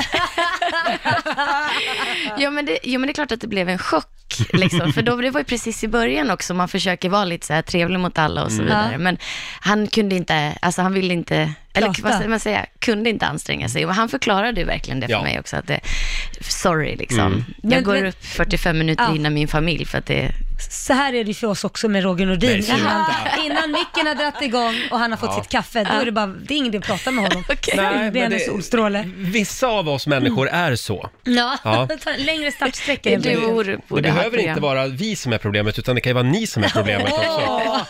S8: Ja men, det, jo, men det är klart att det blev en chock. Liksom. För då, det var ju precis i början också, man försöker vara lite så här trevlig mot alla och så
S1: Mm.
S8: vidare.
S1: Ja.
S8: Men han kunde inte, alltså han ville inte, eller
S2: Prata.
S8: vad ska man säga, kunde inte anstränga sig. Och han förklarade ju verkligen det för
S1: Ja.
S8: mig också, att det, sorry liksom.
S1: Mm.
S8: Jag
S2: Men-
S8: går
S2: men-
S8: upp 45 minuter
S2: Ja.
S8: innan min familj för att det,
S2: Så här är det ju för oss också med Roger Nordin.
S8: Nej, sluta.
S2: innan, innan micken har dragit igång och han har fått
S1: Ja.
S2: sitt kaffe, då är det bara, det är ingen idé att prata med honom. okay.
S1: Nej,
S2: Sen
S1: men
S2: blir han en
S1: det-
S2: solstråle.
S1: Vissa av oss människor är så.
S2: Ja,
S1: Ja.
S2: ta längre startsträckor.
S8: Det är du och Orup
S1: Det
S8: borde ha ett
S1: behöver inte
S8: program.
S1: vara vi som är problemet, utan det kan ju vara ni som är problemet också.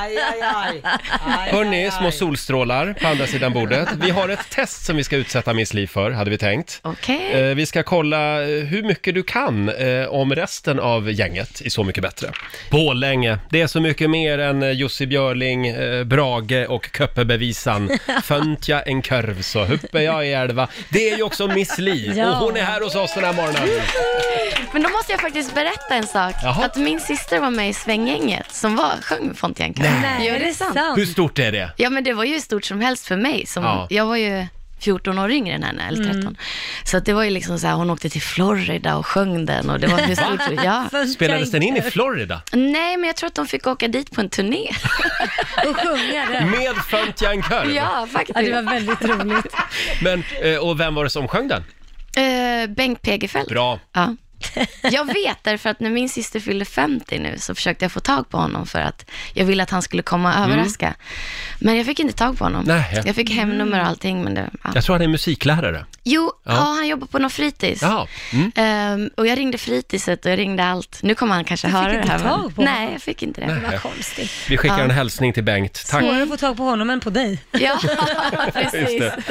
S6: Aj, aj, aj.
S1: Hörni, små solstrålar på andra sidan bordet. Vi har ett test som vi ska utsätta Miss Li för, hade vi tänkt.
S8: Okej.
S1: Eh, Vi ska kolla eh, hur mycket du kan eh, om resten av gänget i Så mycket bättre. Borlänge, det är så mycket mer än eh, Jussi Björling, eh, Brage och Köppebevisan. Fönt jag en kurv så huppe jag i älva. Det är ju också Miss Li
S8: Ja.
S1: och hon är här hos oss den här morgonen.
S8: Men då måste jag faktiskt berätta en sak.
S1: Jaha.
S8: Att min syster var med i svänggänget som var, sjöng Fontianka.
S1: Nej.
S8: Jo, det är sant.
S1: Hur stort är det?
S8: Ja, men det var ju hur stort som helst för mig. Som,
S1: Ja.
S8: Jag var ju 14 år yngre än henne, eller 13.
S1: Mm.
S8: Så att det var ju liksom så här, hon åkte till Florida och sjöng den och det var hur stort som ja.
S1: Spelades den in i Florida?
S8: Nej, men jag tror att de fick åka dit på en turné.
S2: och sjunga
S1: Med Fönt jag en kurv?
S8: Ja, faktiskt.
S2: Ja, det var väldigt roligt.
S1: Men, eh, och vem var det som sjöng den?
S8: Eh, Bengt Pegerfeldt.
S1: Bra.
S8: Ja. Jag vet därför att när min syster fyllde 50 nu så försökte jag få tag på honom för att jag ville att han skulle komma och
S1: Mm.
S8: överraska. Men jag fick inte tag på honom.
S1: Nej.
S8: Jag fick hemnummer och allting. Men det, ja.
S1: Jag tror han är musiklärare.
S8: Jo,
S1: Ja.
S8: ja. han jobbar på någon fritids.
S1: Ja. Mm.
S8: Ehm, och jag ringde fritiset och jag ringde allt. Nu kommer han kanske
S2: Du fick
S8: höra
S2: inte
S8: det här.
S2: tag på
S8: Nej,
S2: honom.
S8: jag fick inte det.
S1: Nej. Vad
S2: konstigt.
S1: Vi skickar
S8: Ja.
S1: en hälsning till Bengt. Tack.
S2: Svårare att få tag på honom än på dig.
S8: Ja,
S1: Just
S8: precis.
S1: det.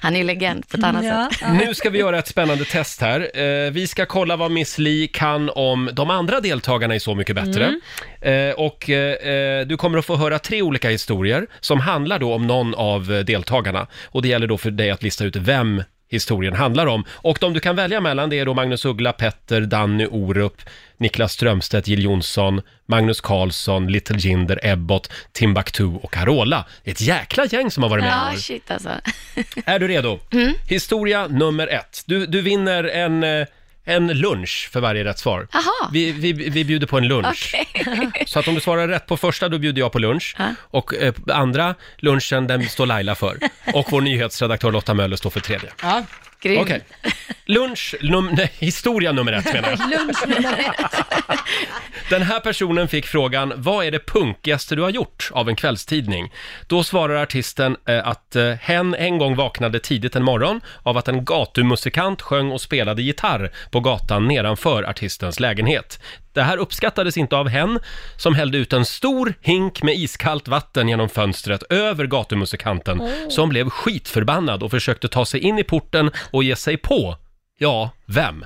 S8: Han är ju legend på ett annat
S2: Ja.
S8: sätt.
S1: Nu ska vi göra ett spännande test här. Eh, vi ska kolla vad Miss Li kan om de andra deltagarna i Så mycket bättre.
S8: Mm.
S1: Eh, och eh, eh, du kommer att få höra tre olika historier som handlar då om någon av eh, deltagarna. Och det gäller då för dig att lista ut vem historien handlar om. Och de du kan välja mellan det är då Magnus Uggla, Petter, Danny Orup, Niklas Strömstedt, Jill Johnson, Magnus Karlsson, Little Jinder, Ebbot, Timbuktu och Carola. Ett jäkla gäng som har varit med i
S8: Ja,
S1: år.
S8: shit alltså.
S1: Är du redo? Historia nummer ett. Du, du vinner en, eh, en lunch för varje rätt svar.
S8: Jaha.
S1: Vi, vi, vi bjuder på en lunch.
S8: Okej.
S1: Så att om du svarar rätt på första, då bjuder jag på lunch. Och eh, andra lunchen, den står Laila för. Och vår nyhetsredaktör Lotta Möller står för tredje.
S8: Ja, grym.
S1: Okej. Lunch, num- nej, historia nummer ett menar jag.
S2: Lunch nummer ett.
S1: Den här personen fick frågan, vad är det punkigaste du har gjort av en kvällstidning? Då svarar artisten eh, att eh, hen en gång vaknade tidigt en morgon av att en gatumusikant sjöng och spelade gitarr på gatan nedanför artistens lägenhet. Det här uppskattades inte av hen som hällde ut en stor hink med iskallt vatten genom fönstret över gatumusikanten
S6: Oh.
S1: som blev skitförbannad och försökte ta sig in i porten och ge sig på, ja, vem?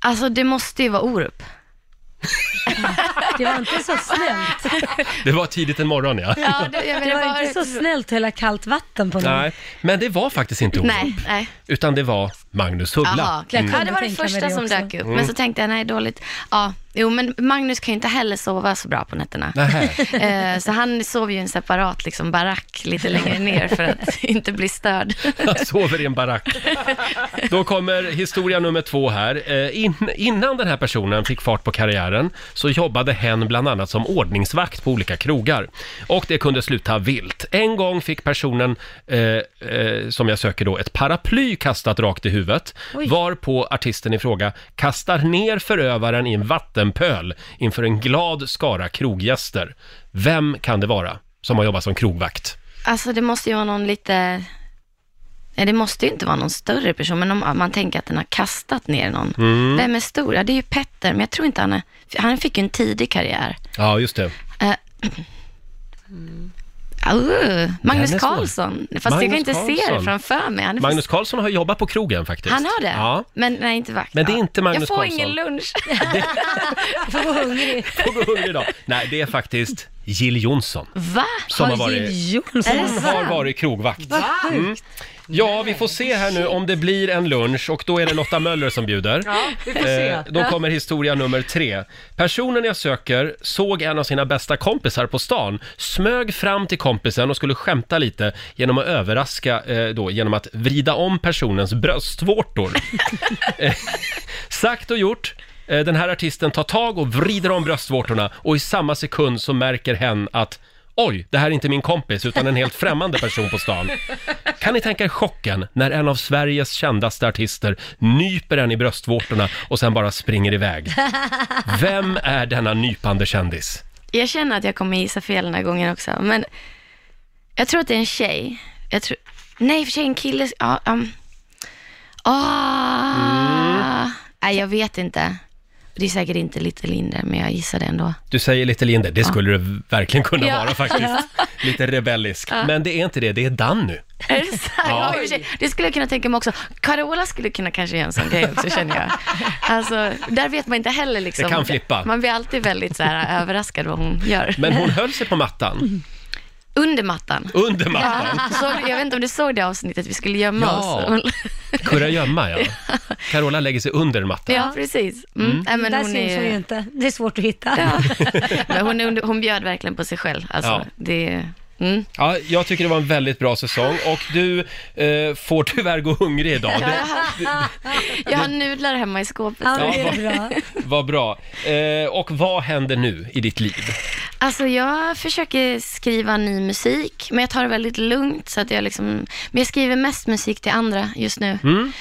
S8: Alltså, det måste ju vara Orup.
S2: Det var inte så snällt.
S1: Det var tidigt en morgon ja.
S8: Ja, det, jag
S2: Det
S8: menar,
S2: var inte så snällt att hälla kallt vatten på någon.
S1: Nej, men det var faktiskt inte Orup.
S8: Nej, nej.
S1: Utan det var Magnus Uggla.
S8: Jaha,
S1: Mm.
S8: ja, det var det
S2: tänka mig
S8: första
S2: det
S8: som
S2: också.
S8: dök upp.
S1: Mm.
S8: Men så tänkte jag, nej dåligt. Ja, jo men Magnus kan ju inte heller sova så bra på nätterna. Eh, så han sover ju i en separat liksom, barack lite längre ner för att inte bli störd.
S1: Han sover i en barack. Då kommer historia nummer två här. Eh, In, innan den här personen fick fart på karriären så jobbade hen bland annat som ordningsvakt på olika krogar. Och det kunde sluta vilt. En gång fick personen, eh, eh, som jag söker då, ett paraply kastat rakt i huvudet.
S6: Oj.
S1: Varpå artisten i fråga kastar ner förövaren i en vattenpöl inför en glad skara kroggäster. Vem kan det vara som har jobbat som krogvakt?
S8: Alltså det måste ju vara någon lite Nej, det måste ju inte vara någon större person, men om man tänker att den har kastat ner någon.
S1: Mm.
S8: Vem är stor? Ja, det är ju Petter, men jag tror inte han är... Han fick ju en tidig karriär.
S1: Ja, just det.
S8: Eh, Au, Magnus
S1: Den är svår.
S8: Carlsson, fast jag
S1: Mm. Magnus
S8: kan inte se det
S1: Carlsson.
S8: framför mig. Han, är
S1: Magnus Karlsson har jobbat på krogen faktiskt.
S8: han har det?
S1: Ja.
S8: Men nej, inte vakt.
S1: Men det är inte Magnus
S8: Jag får
S1: Carlsson.
S8: ingen lunch. jag får gå hungrig.
S1: Får gå hungrig idag. Nej, det är faktiskt Jill Johnson.
S8: Va?
S1: Som har varit-
S2: Jonsson?
S1: Hon har varit krogvakt.
S2: Vad sjukt.
S1: Mm. Ja, vi får se här nu om det blir en lunch och då är det Lotta Möller som bjuder. Eh,
S5: Ja, vi får se.
S1: då kommer historia nummer tre. Personen jag söker såg en av sina bästa kompisar på stan, smög fram till kompisen och skulle skämta lite genom att överraska eh, då genom att vrida om personens bröstvårtor. eh, sagt och gjort. eh, Den här artisten tar tag och vrider om bröstvårtorna och i samma sekund så märker hen att Oj, det här är inte min kompis utan en helt främmande person på stan. Kan ni tänka er chocken när en av Sveriges kändaste artister nyper en i bröstvårtorna och sen bara springer iväg? Vem är denna nypande kändis?
S8: Jag känner att jag kommer gissa fel den här gången också, men jag tror att det är en tjej. Jag tror... Nej, i och för sig en kille. Ja, um... ah.
S1: Mm.
S8: Nej, jag vet inte. Det är säkert inte Little Linder, men jag gissar det ändå.
S1: Du säger lite Linder, det skulle det verkligen kunna
S8: Ja.
S1: vara faktiskt. Lite rebellisk.
S8: Ja.
S1: Men det är inte det, det är Danny.
S8: Är det sant?
S1: Ja.
S8: Ja. i och för sig. Det skulle jag kunna tänka mig också. Carola skulle kunna kanske göra en sån grej också, känner jag. Alltså, där vet man inte heller liksom.
S1: Det kan flippa.
S8: Man blir alltid väldigt så här, äh, överraskad vad hon gör.
S1: Men hon höll sig på mattan.
S8: Under mattan.
S1: Under mattan.
S8: Ja, så, jag vet inte om du såg det avsnittet, vi skulle gömma
S1: Ja.
S8: oss.
S1: Kurragömma, ja. Carola lägger sig under mattan.
S8: Ja, precis. Mm.
S1: Mm.
S8: Nej, men
S2: Där
S8: hon
S2: syns
S8: är...
S2: hon ju inte. Det är svårt att hitta.
S8: Men hon, är under- hon bjöd verkligen på sig själv. Alltså,
S1: Ja.
S8: det,
S1: Ja, jag tycker det var en väldigt bra säsong och du eh, får tyvärr gå hungrig idag.
S8: jag,
S1: Det
S8: har, jag har nudlar hemma i skåpet.
S1: Ja, det är var bra. Eh, och vad händer nu i ditt liv?
S8: Alltså, jag försöker skriva ny musik, men jag tar det väldigt lugnt. Så att jag liksom, men jag skriver mest musik till andra just nu.
S6: Mm.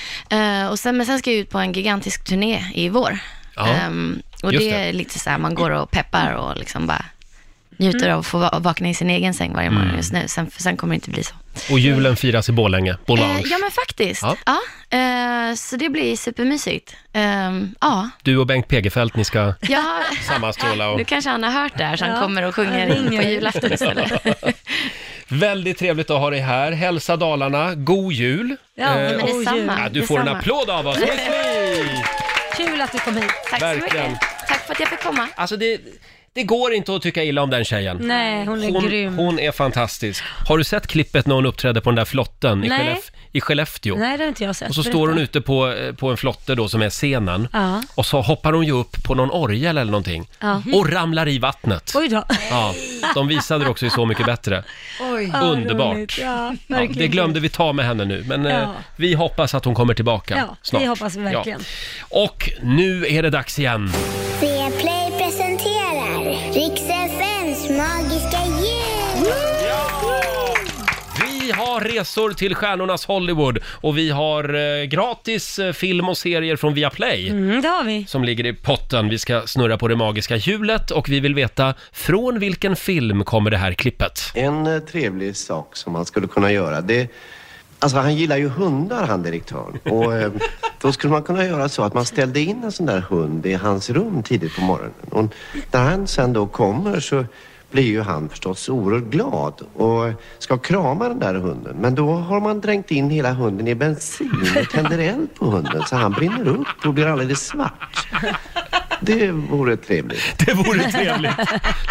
S8: Eh, och sen, men sen ska jag ut på en gigantisk turné i vår.
S6: Ja,
S8: Ehm, och
S6: just
S8: det
S6: det.
S8: är lite så här, man går och peppar och liksom bara njuter
S6: Mm.
S8: av att få va- vakna i sin egen säng varje morgon
S1: Mm.
S8: just nu. Sen, sen kommer det inte bli så.
S1: Och julen firas i Borlänge, Bolange.
S8: Eh, ja, men faktiskt.
S1: Ja.
S8: Ja. eh, så det blir supermysigt. Ehm, ja.
S1: Du och Bengt Pegefelt, ni ska
S8: ja.
S1: sammanstråla och...
S8: Nu kanske han har hört det här, så han
S6: Ja.
S8: kommer och sjunger
S6: Han ringer.
S8: på julafton istället.
S1: Väldigt trevligt att ha dig här. Hälsa Dalarna, god jul! Eh,
S2: Ja, men
S1: och-
S2: detsamma,
S1: Ja, du får en
S2: detsamma.
S1: applåd av oss! Miss Li!
S2: Kul att du kom hit.
S8: Tack
S1: så mycket. Verkligen.
S8: Tack för att jag fick komma.
S1: Alltså det, det går inte att tycka illa om den tjejen.
S2: Nej, hon är grym.
S1: hon är fantastisk. Har du sett klippet när hon uppträdde på den där flotten i,
S2: Nej.
S1: Skellef- i Skellefteå?
S2: Nej, det har inte jag sett.
S1: Och så står hon
S2: Berätta.
S1: ute på, eh, på en flotte då som är scenen.
S2: Ja.
S1: Och så hoppar hon ju upp på någon orgel eller någonting.
S2: Ja.
S1: Mm-hmm. Och ramlar i vattnet.
S2: Oj då.
S1: Ja, de visade det också i Så mycket bättre.
S2: Oj.
S1: Underbart.
S2: Ja,
S1: Ja,
S2: verkligen.
S1: det glömde vi ta med henne nu, men eh,
S2: Ja.
S1: vi hoppas att hon kommer tillbaka
S2: Ja,
S1: snart.
S2: det hoppas vi verkligen.
S1: Ja. Och nu är det dags igen.
S6: Play presenterar Riks-FMs magiska jul!
S1: Vi har resor till stjärnornas Hollywood och vi har eh, gratis eh, film och serier från Viaplay.
S2: Mm, det har vi.
S1: som ligger i potten. Vi ska snurra på det magiska hjulet och vi vill veta från vilken film kommer det här klippet?
S11: En eh, trevlig sak som han skulle kunna göra, det... Alltså han gillar ju hundar, han direktören. Och eh, då skulle man kunna göra så att man ställde in en sån där hund i hans rum tidigt på morgonen. Och när han sen då kommer så blir ju han förstås oerhört glad och ska krama den där hunden. Men då har man dränkt in hela hunden i bensin och tänder eld på hunden så han brinner upp och blir alldeles svart. Det vore trevligt.
S1: Det vore trevligt.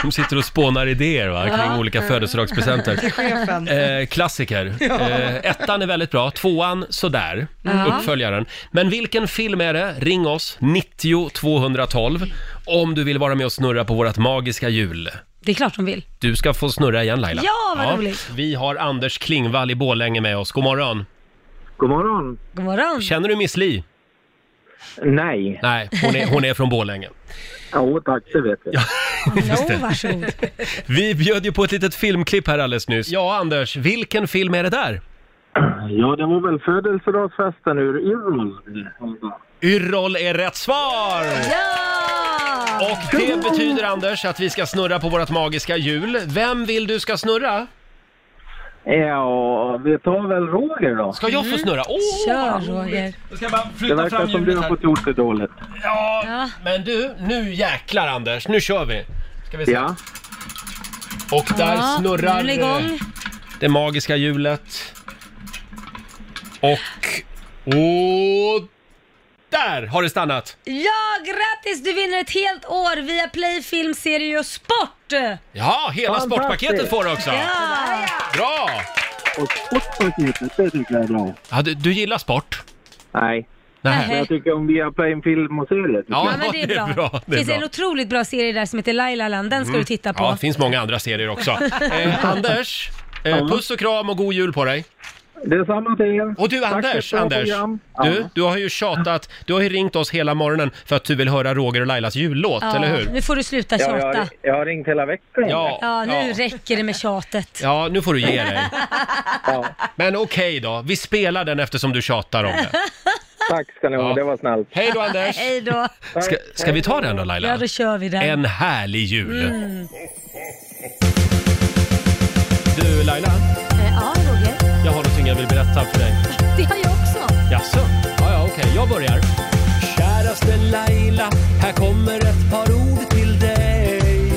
S1: De sitter och spånar idéer va, kring
S11: Ja.
S1: olika födelsedagspresenter.
S11: Till chefen.
S1: Eh, klassiker.
S11: Ja.
S1: Eh, ettan är väldigt bra, tvåan sådär,
S11: Mm.
S1: uppföljaren. Men vilken film är det? Ring oss, 90 212, om du vill vara med och snurra på vårt magiska hjul.
S2: Det är klart hon vill.
S1: Du ska få snurra igen Laila.
S2: Ja, vad roligt.
S1: Vi har Anders Klingvall i Borlänge med oss. God morgon.
S12: God morgon.
S2: God morgon.
S1: Känner du Miss Li?
S12: Nej.
S1: Nej, hon är, hon är från Borlänge.
S12: Ja, tack, det vet jag.
S1: Just det.
S2: varsågod.
S1: Vi bjöd ju på ett litet filmklipp här alldeles nyss. Ja, Anders, vilken film är det där?
S12: Ja, det var väl födelsedagsfesten ur Irland.
S1: Yrrol är rätt svar! Och det betyder, Anders, att vi ska snurra på vårt magiska hjul. Vem vill du ska snurra?
S12: Ja, vi tar väl Roger då.
S1: Ska jag få snurra? Åh,
S2: Mm. Kör
S1: vad roligt.
S2: Roger.
S1: Då ska jag bara
S12: Det
S1: flytta
S12: verkar
S1: fram
S12: som du
S1: hjulet
S12: har
S1: här.
S12: fått gjort det dåligt.
S1: Ja, men du, nu jäklar Anders, nu kör vi. Ska vi se.
S12: Ja.
S1: Och där
S2: Ja, nu är
S1: snurrar
S2: det igång.
S1: eh, det magiska hjulet. Och... Och... Där har det stannat!
S2: Ja, grattis! Du vinner ett helt år via Play Film Serie och Sport! Ah,
S1: Ja, hela
S12: Fantastiskt.
S1: sportpaketet får du också!
S2: Ja.
S1: Bra!
S12: Och sportpaketet, det tycker jag är bra.
S1: Ja, du, du gillar sport?
S12: Nej.
S1: Nej.
S12: Men jag tycker om vi har play en film och serier. tycker
S1: Ja,
S12: jag.
S2: Ja, men det är bra.
S1: det är
S2: finns
S1: bra.
S2: en otroligt bra serie där som heter Lailaland. Den ska
S1: Mm.
S2: du titta på.
S1: Ja, det finns många andra serier också. Eh, Anders, eh, puss och kram och god jul på dig!
S12: Detsamma till er.
S1: Och du
S12: Tack för ett
S1: Anders,
S12: bra
S1: Anders,
S12: program.
S1: du,
S12: Ja.
S1: du har ju tjatat, du har ju ringt oss hela morgonen för att du vill höra Roger och Lailas jullåt,
S2: Ja,
S1: eller hur?
S2: Nu får du sluta
S12: Ja,
S2: tjata.
S12: jag, har- jag har ringt hela veckan.
S1: Ja,
S2: Ja, nu
S1: ja.
S2: räcker det med tjatet.
S1: Ja, nu får du ge dig. Men okej då, vi spelar den eftersom du tjatar om det.
S12: Tack ska ni ha,
S1: Ja.
S12: det var snällt.
S1: Hej då Anders!
S2: Hej då.
S1: Ska, ska vi ta den då
S2: Ja,
S1: Laila?
S2: då kör vi den.
S1: En härlig jul!
S2: Mm.
S1: Du Laila,
S2: Eh, Ja, Roger.
S1: jag har någonting jag vill berätta för dig.
S2: Det har jag också.
S1: Jaså? Ja, ja, okej. Jag börjar. Käraste Laila, här kommer ett par ord till dig.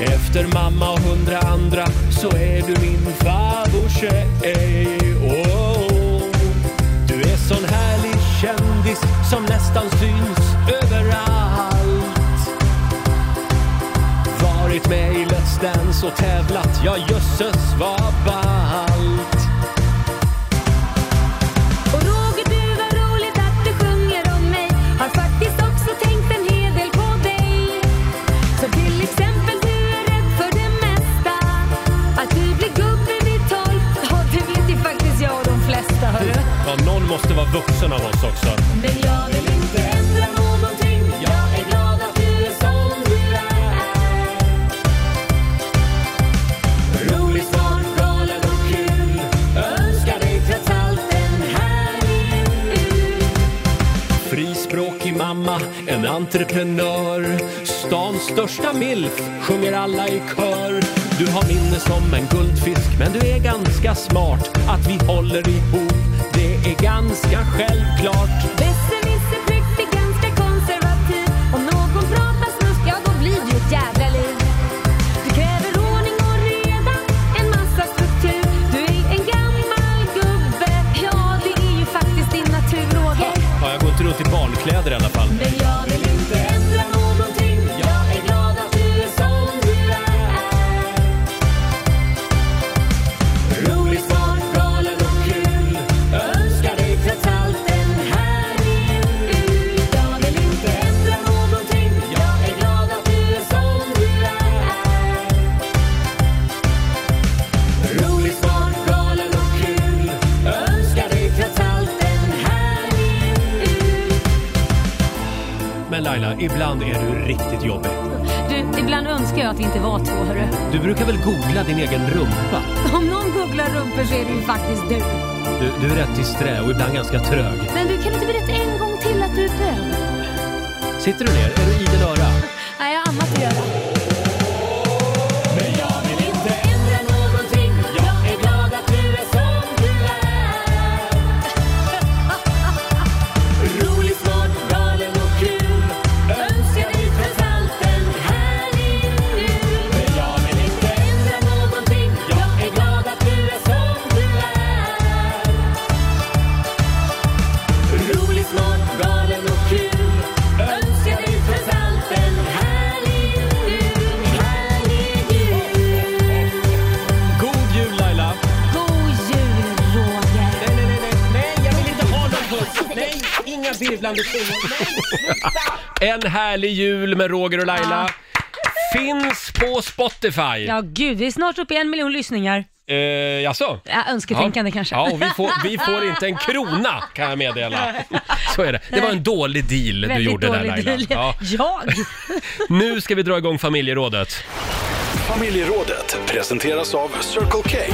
S1: Efter mamma och hundra andra så är du min favorittjej. Oh, du är sån härlig kändis som nästan syns överallt. Varit med i Let's Dance och tävlat, ja jösses vad ballt.
S13: Och Roger du var roligt att du sjunger om mig Har faktiskt också tänkt en hel del på dig Så till exempel du är rädd för det mesta Att du blir gubbe vid tolv Ja det vet ju faktiskt jag och de flesta hörru
S1: Ja, någon måste vara vuxen av oss också.
S13: Men jag vill inte ändra någonting Jag är glad att du är som du är Rolig, smart, galen och kul Önskar dig trots allt en härlig jul
S1: Frispråkig mamma, en entreprenör. Stans största milf, sjunger alla i kör. Du har minne som en guldfisk, men du är ganska smart. Att vi håller ihop, det är ganska självklart.
S13: Besserwisser präktig, ganska konservativ Om någon pratar snusk, ja då blir det ju ett jävla liv Du kräver ordning och reda, en massa struktur Du är en gammal gubbe, ja det är ju faktiskt din natur Roger
S1: Ja, jag går inte runt i barnkläder i alla fall.
S13: Men jag vill inte ändra någonting, jag är glad att du är som du är Rolig, smart, galen och kul Önskar dig trots allt en härlig jul Jag vill inte ändra någonting Jag är glad att du är som du är Rolig, smart, galen och kul Önskar dig trots allt en härlig jul
S1: Men Laila, ibland är du riktigt jobbig.
S13: Du, ibland önskar jag att vi inte var två, hörru.
S1: Du brukar väl googla din egen rumpa?
S13: Om någon googlar rumpor så är det ju faktiskt du.
S1: Du, du är rätt disträ och ibland ganska trög.
S13: Men du, kan inte berätta en gång till att du är bög?
S1: Sitter du ner? Är du idel öra?
S13: Nej, jag har annat att göra.
S1: Men jag vill inte...
S13: Ändra någonting, jag är glad att du är som du är. Rolig, smart, galen och kul. Önskar dig trots allt en härlig jul. Men jag vill inte ändra någonting, jag är glad att du är som du är. Rolig, smart, galen och kul Önskar dig trots allt en härlig jul Härlig jul
S1: God jul Laila!
S13: God jul Roger
S1: Nej, nej, nej, nej, nej, jag vill inte ha någon puss. Nej, inga virvlande tungor. En härlig jul med Roger och Laila. Finns på Spotify.
S2: Ja, gud, vi är snart uppe i en miljon lyssningar.
S1: Eh, jaså?
S2: Ja, önsketänkande kanske.
S1: Ja, och vi får, vi får inte en krona kan jag meddela. Så är det. Det var en dålig deal du
S2: Väldigt
S1: gjorde där Laila.
S2: dålig deal.
S1: Ja.
S2: Jag?
S1: Nu ska vi dra igång familjerådet.
S14: Familjerådet presenteras av Circle K.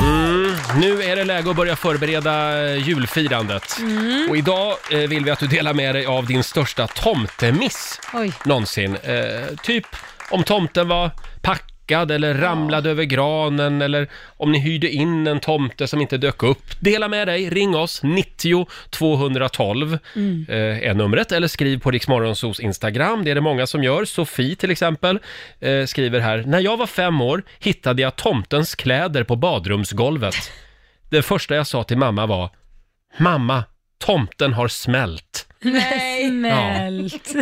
S1: Mm, Nu är det läge att börja förbereda eh, julfirandet.
S2: Mm.
S1: Och idag eh, vill vi att du delar med dig av din största tomtemiss
S2: Oj.
S1: någonsin. Eh, typ om tomten var packad eller ramlade över granen eller om ni hyrde in en tomte som inte dök upp. Dela med dig, ring oss, 90 212
S6: Mm.
S1: eh, är numret, eller skriv på Riksmorgonsos Instagram. Det är det många som gör. Sofie till exempel eh, skriver här, när jag var fem år hittade jag tomtens kläder på badrumsgolvet. Det första jag sa till mamma var, mamma, tomten har smält.
S2: Nej. Smält.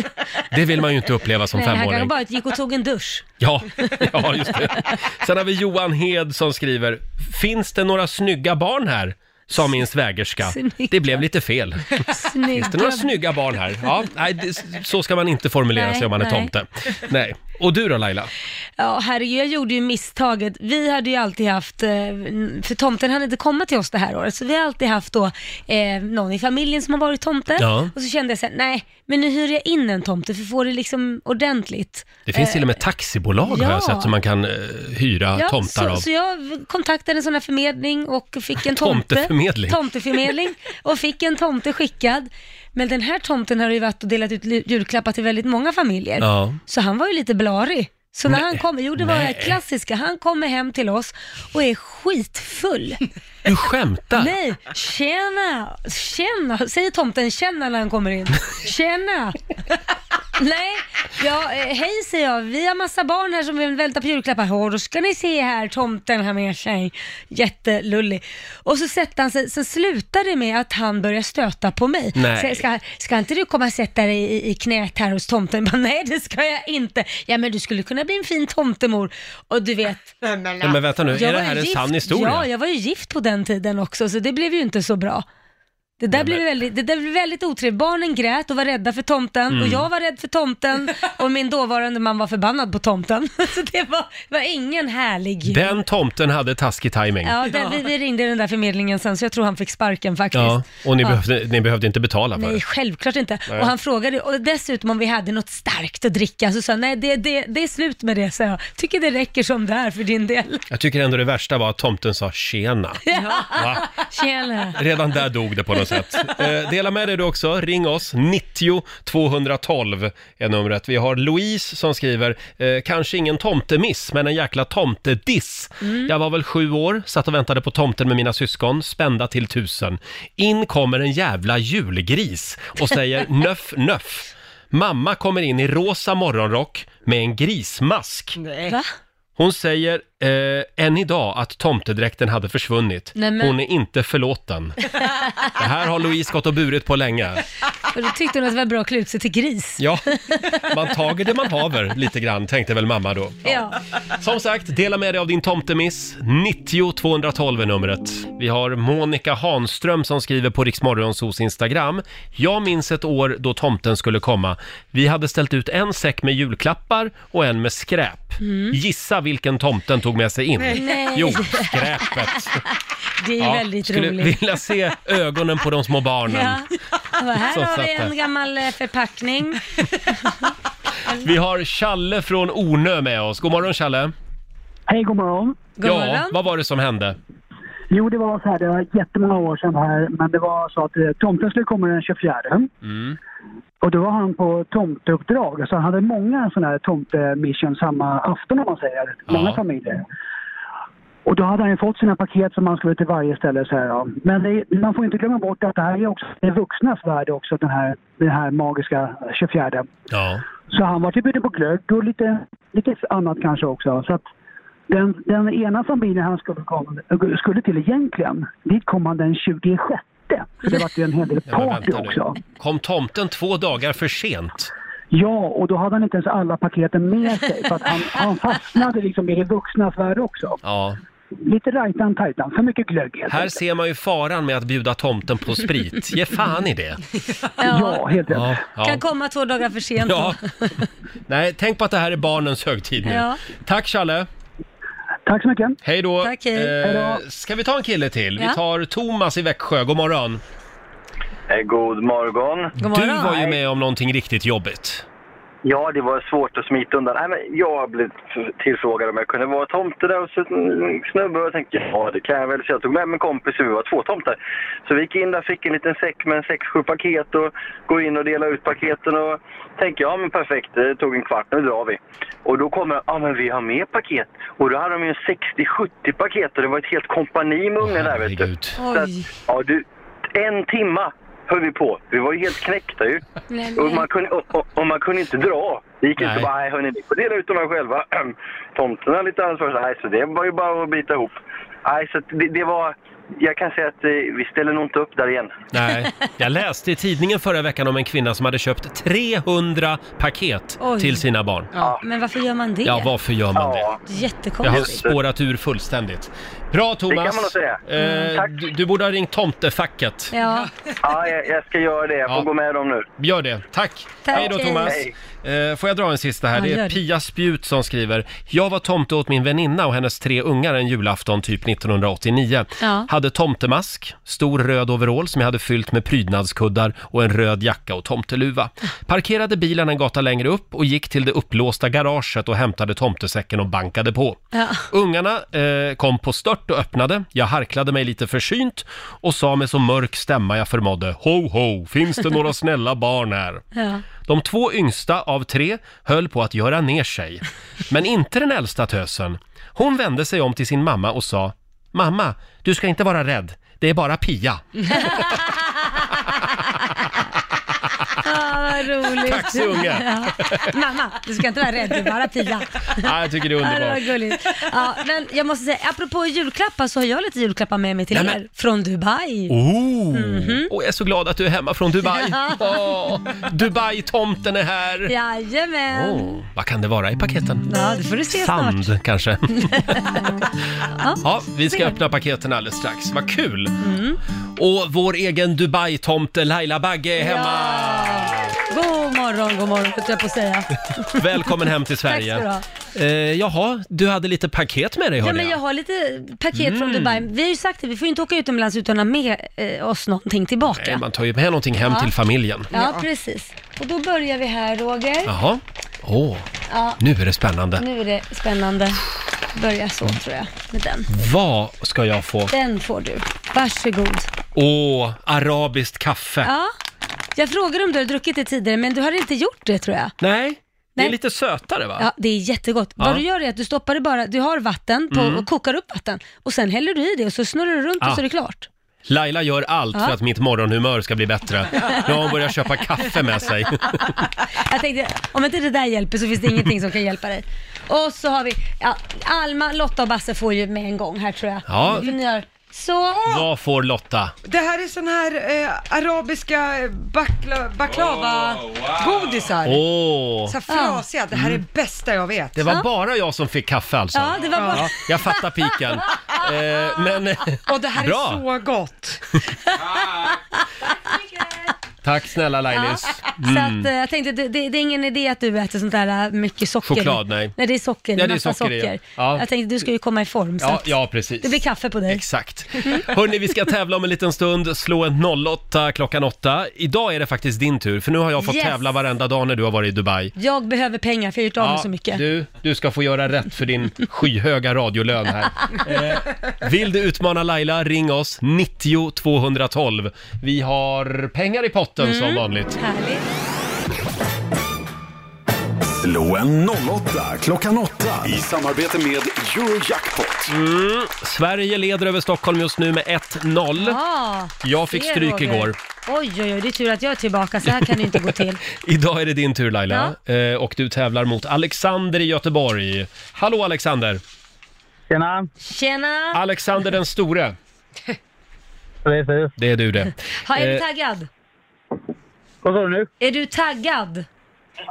S1: Det vill man ju inte uppleva som
S2: Nej, han kanske
S1: femåring.
S2: bara gick och tog en dusch.
S1: Ja, ja, just det. Sen har vi Johan Hed som skriver, finns det några snygga barn här? Sa min svägerska.
S2: Snygga.
S1: Det blev lite fel.
S2: Snygga.
S1: Finns det några snygga barn här? Ja, nej, det, så ska man inte formulera
S2: Nej,
S1: sig om man är
S2: nej.
S1: tomte. Nej. Och du då Laila?
S2: Ja, herregud, jag gjorde ju misstaget. Vi hade ju alltid haft, eh, för tomten hade inte kommit till oss det här året, så vi har alltid haft då eh, någon i familjen som har varit tomte.
S1: Ja.
S2: Och så kände jag så här, nej, men nu hyr jag in en tomte för får det liksom ordentligt.
S1: Det finns
S2: Eh,
S1: till och med taxibolag har
S2: ja.
S1: jag sett som man kan eh, hyra tomtar
S2: så,
S1: av.
S2: så jag kontaktade en sån här förmedling och fick en tomte.
S1: Tomteförmedling.
S2: Tomteförmedling. Och fick en tomte skickad. Men den här tomten har ju varit och delat ut lu- julklappar till väldigt många familjer.
S1: Ja.
S2: Så han var ju lite blarig. Så när
S1: Nej.
S2: han kommer, jo det var det här
S1: Nej.
S2: klassiska, han kommer hem till oss och är skitfull.
S1: Du skämtar?
S2: Nej, tjena, tjena, säger tomten tjena när han kommer in. Tjena! Nej, ja, eh, hej säger jag. Vi har massa barn här som vill vänta på julklappar. Åh, då ska ni se här, tomten har med sig. Jättelullig. Och så sätter han sig, sen slutar det med att han börjar stöta på mig.
S6: Nej.
S2: Så jag Ska, ska inte du komma och sätta dig i, i knät här hos tomten? Jag Bara, Nej, det ska jag inte. Ja, men du skulle kunna bli en fin tomtemor. Och du vet...
S1: Nej, men vänta nu, är
S2: Jag
S1: det
S2: var
S1: här
S2: ju
S1: en
S2: gift-
S1: sann historia?
S2: Ja, jag var ju gift på den tiden också, så det blev ju inte så bra. Det där, blev väldigt, det där blev väldigt otrevligt. Barnen grät och var rädda för tomten
S1: Mm.
S2: och jag var rädd för tomten och min dåvarande man var förbannad på tomten. Så det var, var ingen härlig jul.
S1: Den tomten hade taskig timing.
S2: Ja, den, vi, vi ringde den där förmedlingen sen så jag tror han fick sparken faktiskt.
S1: Ja, och ni,
S2: Ja.
S1: behövde, ni behövde inte betala för
S2: Nej,
S1: det.
S2: självklart inte.
S1: Nej.
S2: Och han frågade och dessutom om vi hade något starkt att dricka så sa han, nej det, det, det är slut med det, så jag. Tycker det räcker som det är för din del.
S1: Jag tycker ändå det värsta var att tomten sa tjena. Va?
S2: Tjena.
S1: Redan där dog det på något sätt. Eh, dela med dig du också. Ring oss. 90 212 är numret. Vi har Louise som skriver, eh, kanske ingen tomtemiss, men en jäkla tomtediss. Jag var väl sju år, satt och väntade på tomten med mina syskon, spända till tusen. In kommer en jävla julgris och säger nöff, nöff. Mamma kommer in i rosa morgonrock med en grismask.
S2: Va?
S1: Hon säger eh, än idag att tomtedräkten hade försvunnit.
S2: Nej, men-
S1: Hon är inte förlåten. Det här har Louise gått och burit på länge.
S2: Och då tyckte hon att det var bra att klä ut sig till gris.
S1: Ja, man tager det man haver lite grann, tänkte väl mamma då.
S2: Ja.
S1: Som sagt, dela med dig av din tomtemiss. 90 212 är numret. Vi har Monica Hanström som skriver på Riksmorgonsos Instagram. Jag minns ett år då tomten skulle komma. Vi hade ställt ut en säck med julklappar och en med skräp.
S13: Mm.
S1: Gissa vilken tomten tog med sig in?
S2: Nej.
S1: Jo, skräpet.
S2: Det är ju
S1: Ja,
S2: väldigt
S1: skulle
S2: roligt.
S1: vilja se ögonen på de små barnen.
S2: Ja. Jag bara, Här
S1: Som
S2: har
S1: satt
S2: vi
S1: där.
S2: en gammal eh, förpackning.
S1: Vi har Challe från Ornö med oss. God morgon Challe!
S15: Hej, god morgon.
S1: ja, vad var det som hände?
S15: Jo, det var så här, det var jättemånga år sedan här, men det var så att eh, tomten skulle komma den 24.
S1: Mm.
S15: Och då var han på tomteuppdrag, så han hade många sådana här tomtemission samma afton om man säger. Många familjer. Och då hade han ju fått sina paket som han skulle till varje ställe. Så här, ja. Men det, man får inte glömma bort att det här är också det vuxnas värld också, den här, den här magiska 24.
S1: Ja.
S15: Så han var typ ute på glögg och lite, lite annat kanske också. Så att den, den ena familjen han skulle, komma, skulle till egentligen, dit kom han den 26. Så det var ju en hel del
S1: Ja, men
S15: party
S1: vänta nu.
S15: också.
S1: Kom tomten två dagar för sent?
S15: Ja, och då hade han inte ens alla paketen med sig. För att han, han fastnade liksom i det vuxnas värld också.
S1: Ja.
S15: Lite rajtan-tajtan, för mycket glögg helt
S1: Här ser man ju faran med att bjuda tomten på sprit. Ge fan i det!
S15: Ja, helt rätt.
S1: Ja,
S2: Kan
S1: ja.
S2: komma två dagar för sent.
S1: ja. Nej, tänk på att det här är barnens högtid nu.
S2: Ja.
S1: Tack Challe!
S15: Tack så mycket!
S1: Hej då!
S2: Tack, hej. Hej
S1: Eh,
S2: då.
S1: ska vi ta en kille till? Vi
S16: Ja.
S1: tar Thomas i Växjö. God morgon!
S16: Eh, God morgon.
S1: Du var ju med om någonting riktigt jobbigt.
S16: Ja, det var svårt att smita undan. Nej, men jag blev tillfrågad om jag kunde vara tomte där och så en snubbe och jag tänkte ja, det kan jag väl. Så jag tog med mig en kompis och vi var två tomtar. Så vi gick in där, fick en liten säck med sex, sju paket och går in och delar ut paketen och tänkte ja, men perfekt, det tog en kvart, nu drar vi. Och då kommer ja, men vi har mer paket. Och då hade de ju 60-70 paket och det var ett helt kompani med ungar där vet du. Så att, ja, du, en timma höll vi på. Vi var ju helt knäckta ju.
S13: Nej,
S16: Och
S13: men-
S16: man kunde, och, och, och man kunde inte dra. Det gick inte bara, nej hörni, ni får dela ut de här själva. Tomterna har lite ansvar. Så, Nej, så det var ju bara att bita ihop. Nej, så att det, det var... Jag kan säga att eh, vi ställer nog inte upp där igen.
S1: Nej, jag läste i tidningen förra veckan om en kvinna som hade köpt 300 paket
S2: Oj.
S1: till sina barn.
S2: Ja. Men varför gör man det?
S1: Ja, varför gör man det? Jag har
S2: Jättekonstigt.
S1: spårat ur fullständigt. Bra Thomas!
S16: Det kan man nog säga.
S1: Eh,
S16: Mm, tack.
S1: du, du borde ha ringt tomtefacket.
S2: Ja.
S16: Ja, jag, jag ska göra det. Jag får
S1: Ja.
S16: gå med dem nu.
S1: Gör det. Tack!
S16: Tack.
S1: Hej då Thomas! Eh, får jag dra en sista här?
S16: Ja,
S1: Det
S16: gör
S1: är
S16: det.
S1: Pia Spjut som skriver. Jag var tomte åt min väninna och hennes tre ungar en julafton typ 1989.
S2: Ja.
S1: Hade tomtemask, stor röd overall som jag hade fyllt med prydnadskuddar och en röd jacka och tomteluva. Parkerade bilen en gata längre upp och gick till det upplåsta garaget och hämtade tomtesäcken och bankade på.
S2: Ja.
S1: Ungarna eh, kom på stört och öppnade. Jag harklade mig lite försynt och sa med så mörk stämma jag förmådde. Ho, ho, finns det några snälla barn här?
S2: Ja.
S1: De två yngsta av tre höll på att göra ner sig. Men inte den äldsta tösen. Hon vände sig om till sin mamma och sa Mamma, du ska inte vara rädd. Det är bara Pia.
S2: Ja, vad roligt.
S1: Tack så unga.
S2: Ja. Mamma, du ska inte vara rädd, du är bara Pia.
S1: Ja, jag tycker det är
S2: Ja, det var
S1: underbart.
S2: gulligt. Ja, men jag måste säga, apropå julklappar så har jag lite julklappar med mig till
S1: Nej, men-
S2: er. Från Dubai.
S1: Oh.
S2: Mhm.
S1: Och jag är så glad att du är hemma från Dubai. Åh, Dubai-tomten är här.
S2: Jajamän.
S1: Åh, vad kan det vara i paketen?
S2: Ja, det får du se
S1: Sand
S2: snart.
S1: kanske.
S2: Ja, Mm.
S1: Ja, vi ska
S2: ser.
S1: öppna paketen alldeles strax. Vad kul! Och vår egen Dubai-tomte Laila Bagge är hemma.
S2: God morgon, god morgon, höll jag på att säga.
S1: Välkommen hem till Sverige.
S2: Tack
S1: eh, jaha, du hade lite paket med dig
S2: Ja,
S1: hörde
S2: men jag har lite paket från
S1: Mm.
S2: Dubai. Vi har ju sagt det, vi får ju inte åka utomlands utan att ha med eh, oss någonting tillbaka.
S1: Nej, man tar ju med någonting hem
S2: Ja.
S1: till familjen.
S2: Ja, precis. Och då börjar vi här, Roger.
S1: Jaha. Åh,
S2: Ja,
S1: nu är det spännande.
S2: nu är det spännande. Börja så,
S1: Mm.
S2: tror jag, med den.
S1: Vad ska jag få?
S2: Den får du. Varsågod.
S1: Åh, arabiskt kaffe.
S2: Ja. Jag frågade om du har druckit det tidigare, men du har inte gjort det, tror jag.
S1: Nej, det är
S2: Nej.
S1: lite sötare va?
S2: Ja, det är jättegott.
S1: Ja.
S2: Vad du gör är att du stoppar det bara, du har vatten på,
S1: Mm.
S2: och kokar upp vatten och sen häller du i det och så snurrar du runt
S1: Ah.
S2: och så är det klart.
S1: Laila gör allt
S2: Ja.
S1: för att mitt morgonhumör ska bli bättre. Nu har hon börjat köpa kaffe med sig.
S2: Jag tänkte, om inte det där hjälper så finns det ingenting som kan hjälpa dig. Och så har vi, ja, Alma, Lotta och Basse får ju med en gång här tror jag.
S1: Ja.
S2: För ni har- Så,
S1: Vad får Lotta?
S5: Det här är sån här eh, arabiska eh, bakla, baklava-godisar.
S1: Åh! Mm.
S5: Så här frasiga. Det här är bästa jag vet.
S1: Det var bara jag som fick kaffe alltså?
S5: Ja, det var bara-
S1: jag fattar piken. Eh, men...
S5: Och det här
S1: Bra!
S5: är så gott.
S1: Tack snälla Lailis. Mm.
S2: så att, eh, jag tänkte, det, det, det är ingen idé att du äter sånt där eh, mycket socker.
S1: Choklad, nej.
S2: Nej, det är socker.
S1: Ja, det är
S2: massa
S1: socker i,
S2: socker.
S1: ja.
S2: Jag tänkte, du ska ju komma i form. Så
S1: Ja,
S2: att
S1: ja, precis.
S2: Det blir kaffe på dig. Mm.
S1: Exakt. Hörni, vi ska tävla om en liten stund. Slå en 08 klockan 8. Idag är det faktiskt din tur, för nu har jag fått
S2: Yes.
S1: tävla varenda dag när du har varit i Dubai.
S2: Jag behöver pengar för jag har gjort av med
S1: Ja,
S2: så mycket.
S1: Du, du ska få göra rätt för din skyhöga radiolön här. Eh, vill du utmana Laila, ring oss 90 212. Vi har pengar i potten
S2: Mm.
S1: som vanligt.
S14: Slå en 08 klockan 8 i samarbete med Eurojackpot.
S1: Mm, Sverige leder över Stockholm just nu med 1-0.
S2: Ja,
S1: Jag fick
S2: Ah, se,
S1: stryk
S2: Roger.
S1: igår.
S2: Oj, oj, oj, det är tur att jag är tillbaka. Så här kan det inte gå till.
S1: Idag är det din tur Laila eh, och du tävlar mot Alexander i Göteborg. Hallå Alexander! Tjena!
S2: Tjena!
S1: Alexander den store. Precis. Det är du det.
S2: Ha, är du
S1: Eh,
S2: taggad?
S1: Vad sa du nu?
S2: Är du taggad?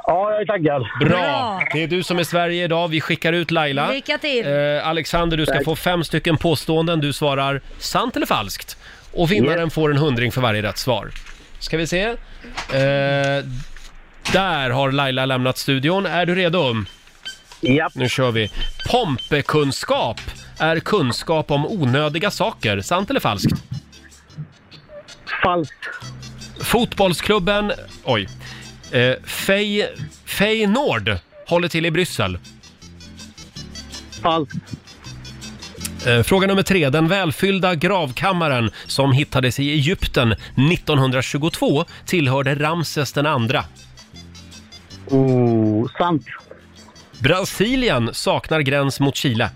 S1: Ja, jag är taggad. Bra.
S2: Bra.
S1: Det är du som är Sverige idag. Vi skickar ut Laila.
S2: Lycka till.
S1: Eh, Alexander, du ska
S2: Tack.
S1: få fem stycken påståenden. Du svarar sant eller falskt. Och vinnaren får en hundring för varje rätt svar. Ska vi se. Eh, där har Laila lämnat studion. Är du redo? Ja. Nu kör vi. Pompekunskap är kunskap om onödiga saker. Sant eller falskt? Falskt. Fotbollsklubben... Oj. Eh, Fej, Fej Nord håller till i Bryssel. Falskt. Eh, Fråga nummer tre. Den välfyllda gravkammaren som hittades i Egypten 1922 tillhörde Ramses den andra. Oh, sant. Brasilien saknar gräns mot Chile.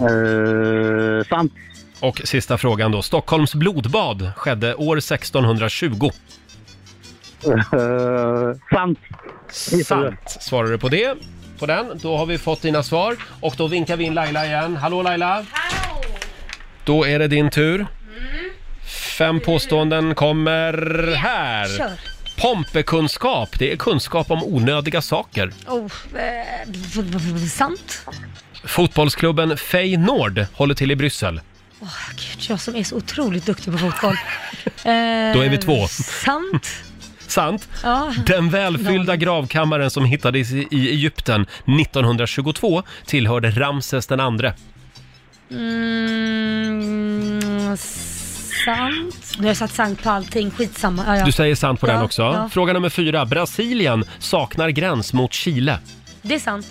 S1: Eh, sant. Och sista frågan då. Stockholms blodbad skedde år 1620. Eh, sant. Sant svarar du på det. På den. Då har vi fått dina svar. Och då vinkar vi in Laila igen. Hallå Laila! Då är det din tur.
S2: Mm.
S1: Fem påståenden kommer här.
S2: kör.
S1: Pompekunskap, det är kunskap om onödiga saker.
S2: Oh, eh, v- v- v- sant.
S1: Fotbollsklubben Feyenoord håller till i Bryssel.
S2: Gud, jag som är så otroligt duktig på fotboll. Eh,
S1: Då är vi två.
S2: Sant.
S1: Sant?
S2: Ja.
S1: Den välfyllda gravkammaren som hittades i i Egypten 1922 tillhörde Ramses den andre.
S2: Mm, sant. Nu har jag satt sant på allting, skitsamma. Ja, ja.
S1: Du säger sant på den
S2: Ja,
S1: också.
S2: ja.
S1: Fråga nummer fyra. Brasilien saknar gräns mot Chile.
S2: Det är sant.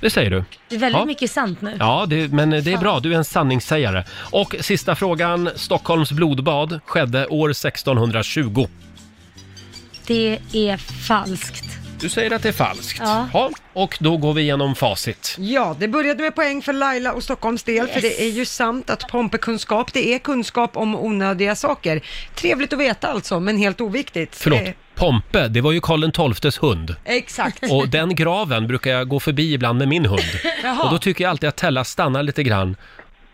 S1: Det säger du.
S2: Det är väldigt
S1: ja.
S2: mycket sant nu.
S1: Ja, det, men det är bra. Du är en sanningssägare. Och sista frågan. Stockholms blodbad skedde år 1620.
S2: Det är falskt.
S1: Du säger att det är falskt.
S5: Ja.
S1: Ja, och då går vi igenom facit.
S5: Ja, det började med poäng för Laila och Stockholms del, för det är ju sant att pompekunskap, det är kunskap om onödiga saker. Trevligt att veta alltså, men helt oviktigt.
S1: Förlåt,
S5: Eh,
S1: Pompe, det var ju Karl XIIs hund.
S5: Exakt.
S1: Och den graven brukar jag gå förbi ibland med min hund.
S5: Jaha.
S1: Och då tycker jag alltid att Tella stannar lite grann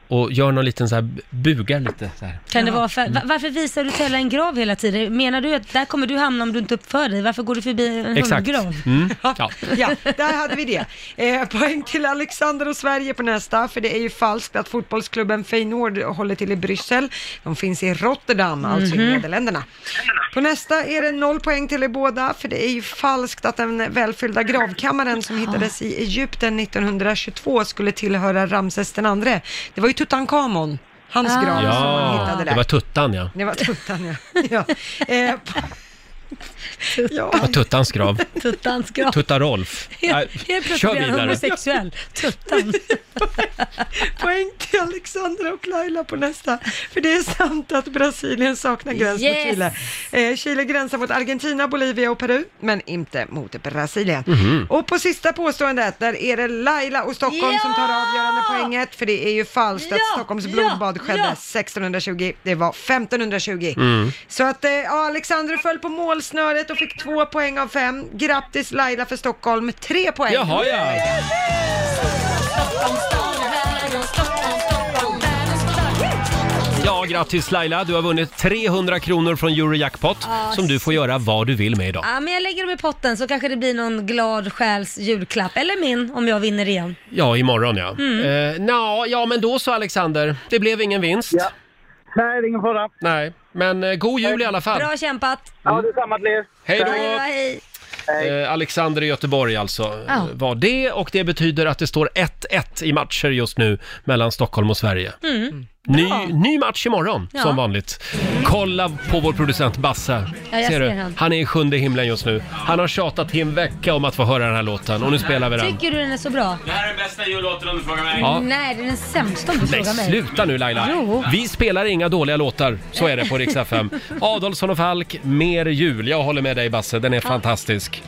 S1: och gör någon liten så här, bugar lite så här.
S2: Kan det vara för, va- varför visar du Tella en grav hela tiden? Menar du att där kommer du hamna om du inte uppför dig? Varför går du förbi en
S1: Exakt.
S2: hundgrav?
S1: Mm. Ja.
S5: Ja, där hade vi det. Eh, poäng till Alexander och Sverige på nästa, för det är ju falskt att fotbollsklubben Feyenoord håller till i Bryssel. De finns i Rotterdam, alltså i
S17: Mhm.
S5: Nederländerna. På nästa är det noll poäng till er båda, för det är ju falskt att den välfyllda gravkammaren som hittades i Egypten 1922 skulle tillhöra Ramses den andre. Det var ju Tutankhamon, hans grav som man
S1: Ah. ja,
S5: hittade där.
S1: det var tuttan ja.
S5: Det var Tuttan, ja. ja. Eh, po- ja.
S1: Ja, tuttans grav.
S2: Tuttans grav.
S1: Tutta Rolf. Nej,
S2: Helt plötsligt
S1: Kör
S2: blir han
S1: vidare.
S2: homosexuell. Tuttan.
S5: Poäng till Alexandra och Laila på nästa. För det är sant att Brasilien saknar gräns
S2: Yes.
S5: mot Chile. Eh, Chile gränsar mot Argentina, Bolivia och Peru, men inte mot Brasilien.
S6: Mhm.
S5: Och på sista påståendet, där är det Laila och Stockholm som tar avgörande poänget, för det är ju falskt att Stockholms blodbad skedde 1620, det var 1520.
S6: Mm.
S5: Så att eh, ja, Alexander föll på målsnöret och fick två poäng av fem. Grattis Laila för Stockholm, tre poäng.
S1: Jaha ja. Ja, grattis Laila. Du har vunnit 300 kronor från Eurojackpot
S2: Ah,
S1: som du får göra vad du vill med idag.
S2: Ja, men jag lägger dem i potten så kanske det blir någon glad själs julklapp. Eller min om jag vinner igen.
S1: Ja, imorgon ja.
S2: Mm.
S1: Eh, nå, ja, men då så Alexander. Det blev ingen vinst. Nej, det är ingen fara. Nej, men eh, god jul i alla fall.
S2: Bra kämpat!
S1: Ja,
S2: detsamma till er.
S1: Hej då.
S2: Hej.
S1: Eh, Alexander i Göteborg alltså
S2: Ja.
S1: eh, var det och det betyder att det står 1-1 i matcher just nu mellan Stockholm och Sverige.
S2: Mm.
S1: Ny, ny match imorgon
S2: Ja.
S1: som vanligt. Kolla på vår producent Basse.
S2: Ja, jag
S1: du?
S2: ser han.
S1: han är i sjunde himlen just nu. Han har tjatat i en vecka om att få höra den här låten och nu spelar vi den.
S2: Tycker du den är så bra?
S18: Det här är den bästa jullåten om du frågar mig.
S1: Ja.
S2: Nej, det är den sämsta om du
S1: Nej,
S2: frågar mig.
S1: sluta nu Laila!
S2: Jo.
S1: Vi spelar inga dåliga låtar, så är det på Rix FM. Adolfsson och Falk, mer jul. Jag håller med dig Basse, den är fantastisk.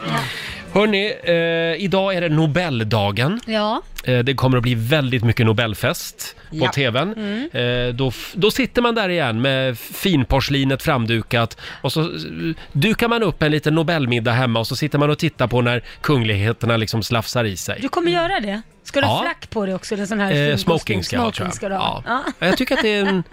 S1: Hörni, eh, idag är det Nobeldagen.
S2: Ja.
S1: Eh, Det kommer att bli väldigt mycket Nobelfest på
S2: Ja.
S1: TVn.
S2: Mm.
S1: Eh, Då, f- då sitter man där igen med finporslinet framdukat och så eh, dukar man upp en liten Nobelmiddag hemma och så sitter man och tittar på när kungligheterna liksom slafsar i sig.
S2: Du kommer göra det? Ska du ha
S1: Ja.
S2: frack på dig också? Eller sån här
S1: Eh,
S2: fin
S1: smoking
S2: kostym?
S1: ska jag ha,
S2: Smoking
S1: tror
S2: ska du
S1: jag.
S2: ha. Ja.
S1: Ja, Jag tycker att det är en...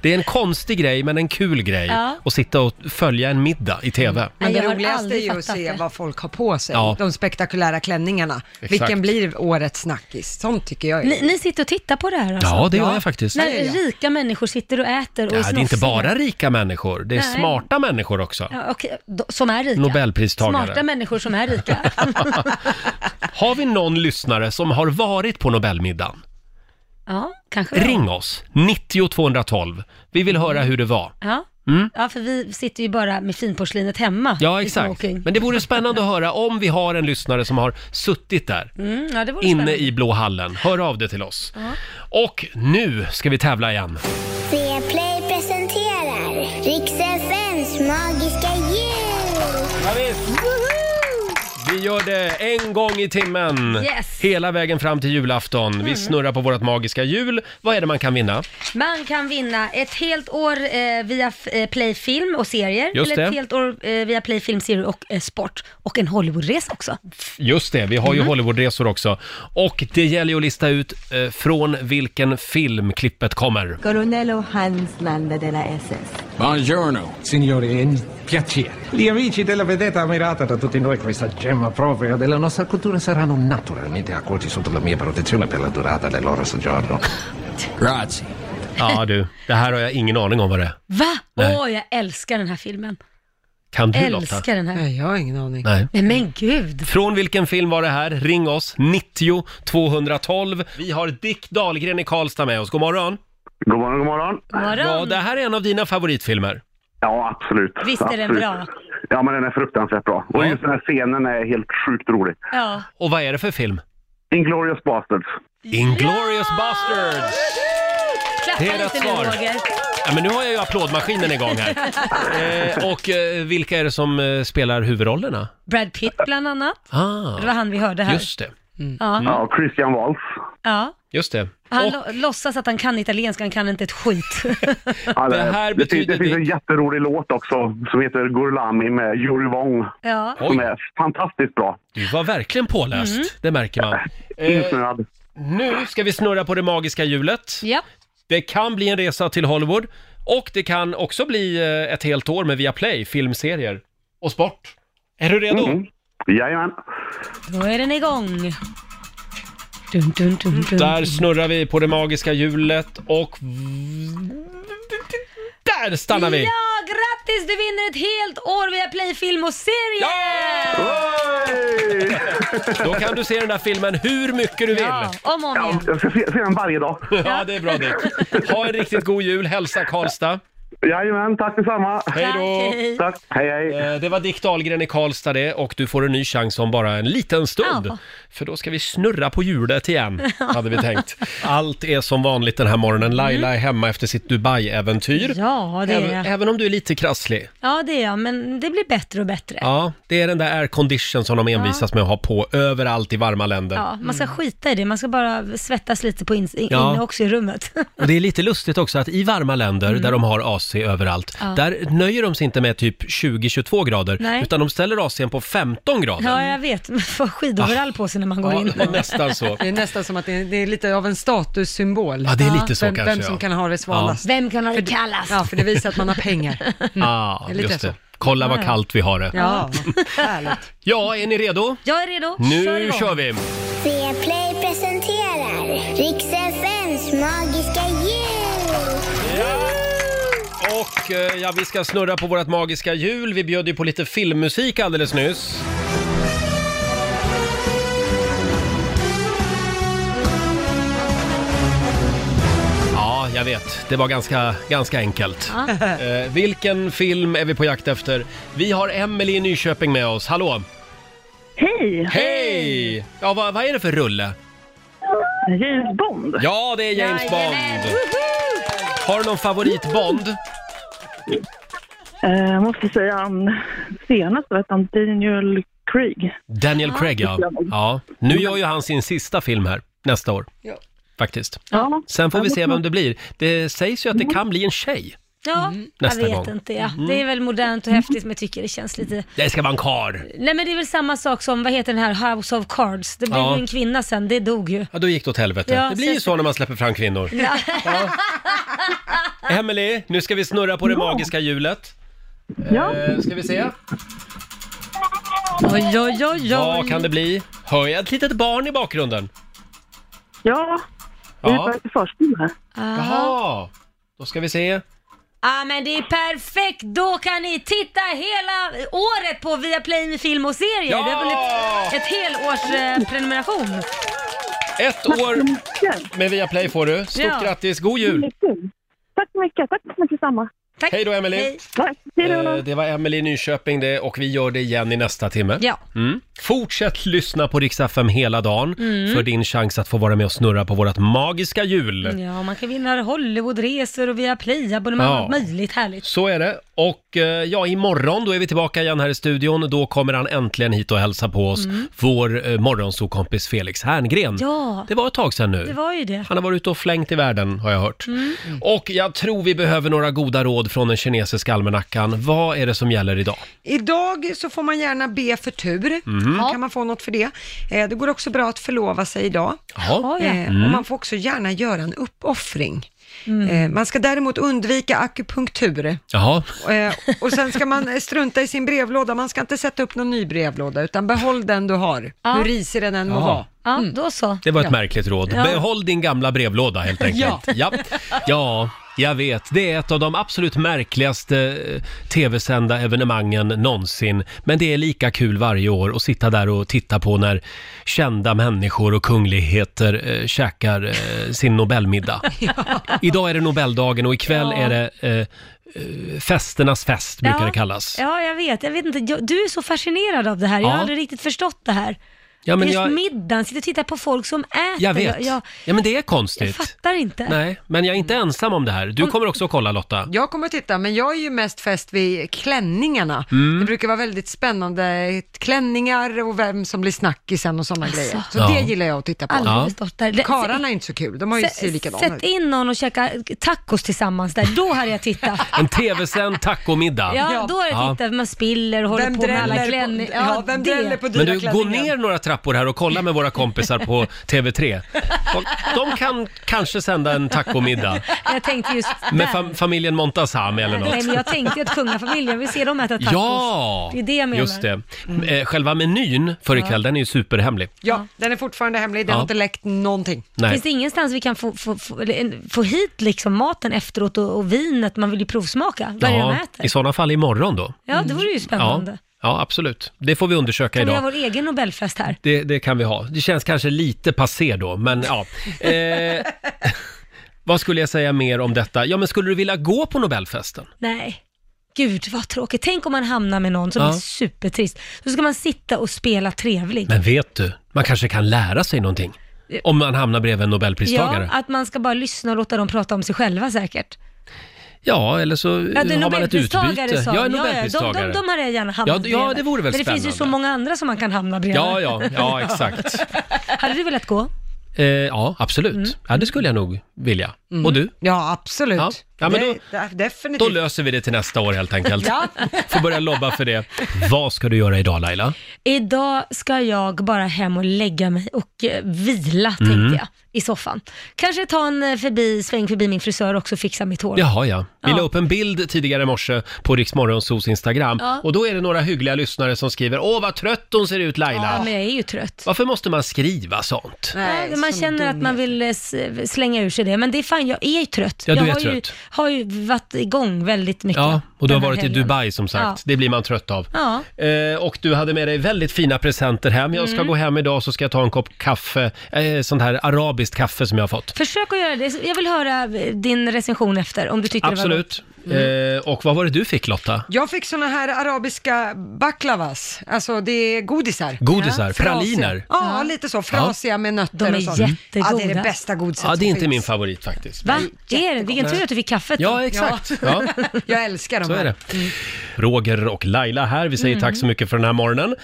S1: Det är en konstig grej, men en kul grej.
S2: Ja. Mm.
S1: Att sitta och följa en middag i TV.
S5: Men
S2: Nej, jag
S5: det
S2: har
S5: roligaste är
S2: aldrig
S5: ju att
S2: fattat
S5: se
S2: det.
S5: vad folk har på sig.
S1: Ja.
S5: De spektakulära klänningarna.
S1: Exakt.
S5: Vilken blir årets snackis? Sånt tycker jag är...
S2: Ni, ni sitter och tittar på det här alltså?
S1: Ja, det gör jag faktiskt.
S2: När
S1: Ja, ja, ja.
S2: rika människor sitter och äter och
S1: Ja, det är inte
S2: snofsiga.
S1: bara rika människor, det är
S2: Nej.
S1: smarta människor också.
S2: Ja, okej, d- som är rika.
S1: Nobelpristagare.
S2: Smarta människor som är rika.
S1: Har vi någon lyssnare som har varit på Nobelmiddagen?
S2: Ja, kanske.
S1: Ring oss, 90 212. Vi vill höra hur det var.
S2: Ja.
S1: Mm.
S2: Ja, för vi sitter ju bara med finporslinet hemma.
S1: Ja,
S2: i
S1: exakt.
S2: smoking.
S1: Men det vore spännande att höra om vi har en lyssnare som har suttit där.
S2: Mm, ja, det vore
S1: Inne
S2: spännande.
S1: i blå hallen. Hör av dig till oss.
S2: Ja.
S1: Och nu ska vi tävla igen.
S6: Play presenterar Rix FMs magiska jul!
S1: Vi gör det en gång i timmen.
S2: Yes.
S1: Hela vägen fram till julafton.
S19: Mm.
S1: Vi snurrar på vårt magiska hjul. Vad är det man kan vinna?
S2: Man kan vinna ett helt år eh, via f- eh, Playfilm och serier.
S1: Just
S2: eller ett
S1: det.
S2: helt år eh, via Playfilm, serier och eh, sport. Och en Hollywoodresa också.
S1: Just det, vi har ju
S19: Mm.
S2: Mhm.
S1: Hollywoodresor också. Och det gäller ju att lista ut eh, från vilken film klippet kommer.
S17: Coronello Hans Landa della SS.
S20: Buongiorno. Signori, è un piacere. Gli amici della vedetta ammirata da tutti noi, questa gemma propria della nostra cultura, saranno naturalmente accolti sotto la mia protezione per la durata del loro soggiorno. Grazie.
S1: Ja du, det här har jag ingen aning om vad det är.
S2: Va?
S1: Nej.
S2: Åh, jag älskar den här filmen.
S1: Kan du
S2: älskar
S1: Lotta?
S2: den här. Nej,
S5: jag har ingen aning.
S1: Nej.
S2: Nej, men gud.
S1: Från vilken film var det här? Ring oss, 90 212. Vi har Dick Dahlgren i Karlstad med oss. God morgon!
S19: God morgon, god morgon.
S1: Ja, det här är en av dina favoritfilmer.
S19: Ja, absolut.
S2: Visst är den
S19: absolut.
S2: bra?
S19: Ja, men den är fruktansvärt bra. Och just den här scenen är helt sjukt rolig.
S2: Ja.
S1: Och vad är det för film?
S19: Inglourious Basterds.
S1: Inglourious Basterds!
S2: Klappa
S1: Det är rätt
S2: lite nu,
S1: svar.
S2: Roger.
S1: Ja, men nu har jag ju applådmaskinen igång här. Eh, och eh, vilka är det som eh, spelar huvudrollerna?
S2: Brad Pitt bland annat.
S1: Ah,
S2: Det var han vi hörde här.
S1: just det.
S2: Ja.
S19: Ja, Christian Waltz.
S2: Ja.
S1: Mm. Just det.
S2: Han lo- låtsas att han kan italienska, han kan inte ett skit.
S19: Ja, det, här det, finns, det finns en jätterolig låt också som heter Gurlami med Juri Wong.
S2: ja.
S19: Som är fantastiskt bra.
S1: Du var verkligen påläst,
S2: Mm.
S1: det märker man. Eh,
S19: Insnöad.
S1: nu ska vi snurra på det magiska hjulet.
S2: Ja.
S1: Det kan bli en resa till Hollywood och det kan också bli eh, ett helt år med Viaplay, filmserier och sport. Är du redo?
S2: Mm.
S19: Jajamän.
S2: Då är den igång. Dun, dun, dun, dun.
S1: Där snurrar vi på det magiska hjulet och... Där stannar vi!
S2: Ja, grattis! Du vinner ett helt år via Playfilm och serier!
S1: Då kan du se den där filmen hur mycket du vill.
S2: Ja, om och om igen.
S19: Jag ska se, se den varje dag.
S1: Ja, det är bra Dick. Ha en riktigt god jul. Hälsa Karlstad.
S19: Jajamän, tack detsamma.
S1: Hej då!
S19: Tack, hej hej.
S1: Eh, Det var Dick Dahlgren i Karlstad det och du får en ny chans om bara en liten stund. För då ska vi snurra på hjulet igen, hade vi tänkt. Allt är som vanligt den här morgonen. Laila är hemma efter sitt Dubai-äventyr.
S2: Mm. Ja, det är
S1: även,
S2: jag.
S1: även om du är lite krasslig.
S2: Ja, det är jag, men det blir bättre och bättre. Ja.
S1: Ja, det är den där aircondition som de envisas med att ha på överallt i varma länder.
S2: man ska skita i det, man ska bara svettas lite på in, in,
S1: Mm. Ja.
S2: inne också i rummet.
S1: Och det är lite lustigt också att i varma länder
S2: Mm.
S1: där de har AC överallt,
S2: Ja.
S1: där nöjer de sig inte med typ 20-22 grader,
S2: Nej.
S1: utan de ställer AC'n på 15 grader.
S2: Ja, jag vet. Man får skidoverall på sig när man går
S1: Ah. Ja,
S2: in.
S1: det var nästan så.
S5: Det är nästan som att det är, det är lite av en statussymbol.
S1: Ja, det är lite så
S5: vem,
S1: kanske,
S5: Vem som
S1: ja.
S5: kan ha det svalast.
S2: Vem kan ha det kallast?
S5: Ja, för det visar att man har pengar.
S1: Ah,
S5: Det är lite
S1: just
S5: så.
S1: det. Kolla vad
S5: Ja.
S1: kallt vi har det.
S5: Ja,
S1: Ja, är ni redo?
S2: Jag är redo.
S1: Nu kör vi!
S6: Play presenterar Rix FMs magiska jul!
S1: Och eh, ja, vi ska snurra på vårt magiska hjul. Vi bjöd ju på lite filmmusik alldeles nyss. Ja, jag vet. Det var ganska, ganska enkelt. Eh, vilken film är vi på jakt efter? Vi har Emelie i Nyköping med oss. Hallå!
S6: Hej!
S1: Hej! Ja, vad, vad är det för rulle?
S6: James Bond.
S1: Ja, det är James Bond! Har du någon favorit Bond?
S6: Eh, Jag måste säga han senast vet han Daniel Craig.
S1: Daniel Craig, ja. ja. Nu gör ju han sin sista film här, nästa år.
S6: Ja.
S1: Faktiskt.
S6: Ja.
S1: Sen får vi se vem det blir. Det sägs ju
S2: Mm.
S1: att det kan bli en tjej.
S2: Ja,
S1: Mm. Nästa
S2: jag vet
S1: gång.
S2: inte. Ja.
S1: Mm.
S2: Det är väl modernt och häftigt, men jag tycker det känns lite...
S1: Det ska vara en kar.
S2: Nej, men det är väl samma sak som, vad heter den här, House of Cards? Det blev
S1: Ja.
S2: ju en kvinna sen, det dog ju.
S1: Ja, då gick det åt helvete.
S2: Ja,
S1: det blir ju
S2: så-
S1: så när man släpper fram kvinnor.
S2: Ja.
S1: Emily, nu ska vi snurra på det magiska hjulet.
S6: Ja.
S1: Eh, ska vi se?
S2: Oj, oj, oj, oj.
S1: Vad kan det bli? Hör jag ett litet barn i bakgrunden?
S6: Ja, det är
S1: Ja.
S6: faktiskt förskola.
S1: Jaha. Då ska vi se.
S2: Ja, men det är perfekt! Då kan ni titta hela året på Viaplay med film och serier.
S1: Ja!
S2: Det är väl ett, ett helårs eh, prenumeration.
S1: Ett år med Viaplay får du. Stort
S2: Ja.
S1: grattis, god jul!
S6: Tack så mycket, tack så mycket samma.
S2: Tack.
S1: Hej då Emelie. Eh, Det var Emelie i Nyköping det och vi gör det igen i nästa timme.
S2: Ja.
S1: Mm. Fortsätt lyssna på Rix FM hela dagen
S2: Mm.
S1: för din chans att få vara med och snurra på vårt magiska hjul.
S2: Ja, man kan vinna Hollywoodresor och via Play-abonnemang
S1: Ja.
S2: allt möjligt härligt.
S1: Så är det. Och eh, ja, imorgon då är vi tillbaka igen här i studion. Då kommer han äntligen hit och hälsa på oss,
S2: Mm.
S1: vår eh, morgonsokompis Felix Herngren.
S2: Ja.
S1: Det var ett tag sedan nu.
S2: Det var ju det.
S1: Han har varit ute och flängt i världen, har jag hört.
S2: Mm.
S1: Och jag tror vi behöver några goda råd från den kinesiska almanackan. Vad är det som gäller idag?
S5: Idag så får man gärna be för tur.
S2: Mhm.
S1: Mm.
S5: Kan man få något för det. Eh, Det går också bra att förlova sig idag.
S1: Jaha.
S5: Eh,
S1: Mm.
S5: Och man får också gärna göra en uppoffring.
S2: Mm.
S5: Eh, Man ska däremot undvika akupunktur.
S1: Jaha.
S5: Eh, Och sen ska man eh, strunta i sin brevlåda. Man ska inte sätta upp någon ny brevlåda, utan behåll den du har.
S2: Ja.
S5: Hur risig den än må
S1: Ja.
S5: vara. Mm.
S2: Ja, då så.
S1: Det var ett
S5: Ja.
S1: märkligt råd.
S2: Ja.
S1: Behåll din gamla brevlåda helt enkelt.
S2: Ja.
S1: Ja. ja, jag vet. Det är ett av de absolut märkligaste eh, tv-sända evenemangen någonsin. Men det är lika kul varje år att sitta där och titta på när kända människor och kungligheter eh, käkar eh, sin Nobelmiddag. Idag är det Nobeldagen och ikväll
S2: Ja.
S1: är det eh, eh, festernas fest, brukar
S2: ja.
S1: det kallas.
S2: Ja, jag vet. Jag vet inte. Jag, du är så fascinerad av det här. Jag har
S1: Ja.
S2: aldrig riktigt förstått det här.
S1: Ja, men
S2: Just
S1: jag-
S2: middagen, sitter och tittar på folk som äter.
S1: Jag vet.
S2: Jag, jag
S1: Ja, men det är konstigt.
S2: fattar inte.
S1: Nej, men jag är inte ensam om det här. Du kommer också att kolla Lotta.
S5: Jag kommer att titta, men jag är ju mest fäst vid klänningarna.
S1: Mm.
S5: Det brukar vara väldigt spännande klänningar och vem som blir snackisen och sådana
S2: Alltså.
S5: grejer. Så
S1: Ja.
S5: det gillar jag att titta på.
S2: Aldrig Ja. förstått det. Det-
S5: Karlarna är inte så kul, de har ju
S2: Sä-
S5: ser likadana
S2: Sätt
S5: ut.
S2: in någon och käka tacos tillsammans där, då hade jag tittat.
S1: En tv-sänd tacomiddag.
S2: Ja, då hade jag tittat. Man spiller och håller
S5: Vem
S2: på med alla
S5: dräller på-
S2: klänningar.
S5: ja, vem
S2: det.
S5: dräller på
S1: Men du, gå ner några trappor här och kolla med våra kompisar på TV3. De, de kan kanske sända en tacomiddag
S2: Jag tänkte just
S1: med
S2: där.
S1: fam- familjen Montazami eller
S2: Nej, men
S1: något.
S2: jag tänkte ju att kungafamiljen, vi ser dem äta tacos.
S1: Ja,
S2: det är det jag menar. Mm.
S1: just det. Eh, Själva menyn för ikväll, den är ju superhemlig.
S5: Ja, den är fortfarande hemlig, den
S1: Ja.
S5: har inte läckt någonting.
S1: Nej.
S2: Finns det ingenstans vi kan få, få, få, eller en- få hit liksom maten efteråt och, och vinet? Man vill ju provsmaka. Vad är det de
S1: Ja,
S2: äter?
S1: I sådana fall imorgon då.
S2: Ja, det vore ju spännande.
S1: Ja, ja absolut. Det får vi undersöka
S2: Kan vi
S1: idag.
S2: ha vår egen Nobelfest här?
S1: Det, det kan vi ha. Det känns kanske lite passé då, men ja. Eh, vad skulle jag säga mer om detta? Ja, men skulle du vilja gå på Nobelfesten?
S2: Nej. Gud vad tråkigt. Tänk om man hamnar med någon som
S1: Ja.
S2: är supertrist. Så ska man sitta och spela trevlig. Eh,
S1: Men vet du, man kanske kan lära sig någonting om man hamnar bredvid en Nobelpristagare.
S2: ja, att man ska bara lyssna och låta dem prata om sig själva säkert.
S1: Ja, eller så
S2: Ja, det är
S1: Eh, har man ett utbyte.
S2: Nobelpristagare sa
S1: ja, en
S2: de.
S1: Nobelpristagare.
S2: Ja, ja, de, de, de hade jag gärna hamnat
S1: Ja, d- ja,
S2: bredvid.
S1: det vore väl
S2: Men det finns ju
S1: spännande.
S2: så många andra som man kan hamna bredvid.
S1: Ja, ja, ja, exakt.
S2: hade du velat gå?
S1: Eh, ja, absolut.
S2: Mm.
S1: Ja, det skulle jag nog vilja. Och du?
S5: Ja, absolut.
S1: Ja, ja men
S5: Det-
S1: då,
S5: det- definitivt.
S1: då löser vi det till nästa år helt enkelt.
S2: Ja.
S1: Får börja lobba för det. Vad ska du göra idag Laila?
S2: Idag ska jag bara hem och lägga mig och eh, vila, tänkte
S1: Mm.
S2: jag, i soffan. Kanske ta en eh, förbi, sväng förbi min frisör också och fixa mitt hår.
S1: Jaha, ja. Vi
S2: Ja.
S1: la upp en bild tidigare i morse på Riksmorgonsos Instagram
S2: Ja.
S1: och då är det några hyggliga lyssnare som skriver “Åh, vad trött hon ser ut Laila!”
S2: Ja, men jag är ju trött.
S1: Varför måste man skriva sånt?
S2: Nej, man känner att man vill eh, s- slänga ur sig det, men det är fan, jag är ju trött.
S1: Ja, du
S2: jag
S1: är
S2: har,
S1: trött.
S2: Ju, har ju varit igång väldigt mycket.
S1: Ja, och du har
S2: den här
S1: varit i
S2: helgen.
S1: Dubai som sagt.
S2: Ja.
S1: Det blir man trött av.
S2: Ja.
S1: Eh, och du hade med dig väldigt fina presenter hem. Jag ska
S2: Mm.
S1: gå hem idag så ska jag ta en kopp kaffe, eh, sånt här arabiskt kaffe som jag har fått.
S2: Försök att göra det. Jag vill höra eh, din recension efter, om du tyckte det var Mm.
S1: Absolut. Eh, och vad var det du fick Lotta?
S5: Jag fick såna här arabiska baklavas, alltså det är godisar.
S1: Godisar,
S5: Frasiga.
S1: praliner.
S5: Ja, lite så. Frasiga med nötter
S2: De är
S5: och sånt.
S2: jättegoda.
S5: Ja, det är det bästa godiset
S1: Ja, det är
S5: som
S1: inte
S5: finns.
S1: min favorit faktiskt.
S2: Va? Det är det? Vilken tur att du fick kaffet då.
S1: Ja, exakt. Ja.
S5: Jag älskar dem
S1: Så är
S5: här.
S1: det. Roger och Laila här. Vi säger
S2: Mm.
S1: tack så mycket för den här morgonen.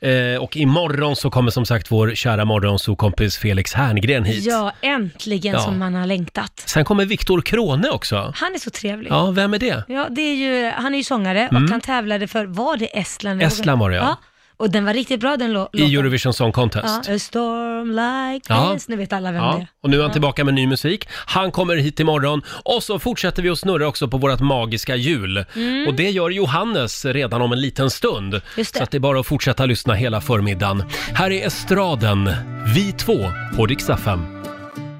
S1: Eh, och imorgon så kommer som sagt vår kära morgonsokompis Felix Herngren hit.
S2: Ja, äntligen
S1: Ja.
S2: som man har längtat.
S1: Sen kommer Viktor Krone också.
S2: Han är så trevlig.
S1: Ja, vem är det?
S2: Ja, det är ju, han är ju sångare
S1: Mm.
S2: och han tävlade för, var det Estland?
S1: Estland var det, ja.
S2: Och den var riktigt bra den lå- låten.
S1: I Eurovision Song Contest.
S2: Ja, A storm like
S1: Ja.
S2: this. Nu vet alla vem det
S1: Ja,
S2: är.
S1: och nu är han
S2: Ja.
S1: tillbaka med ny musik. Han kommer hit imorgon och så fortsätter vi att snurra också på vårt magiska hjul.
S2: Mm.
S1: Och det gör Johannes redan om en liten stund.
S2: Just det.
S1: Så att det är bara att fortsätta lyssna hela förmiddagen. Här är estraden, vi två på Dixtafem.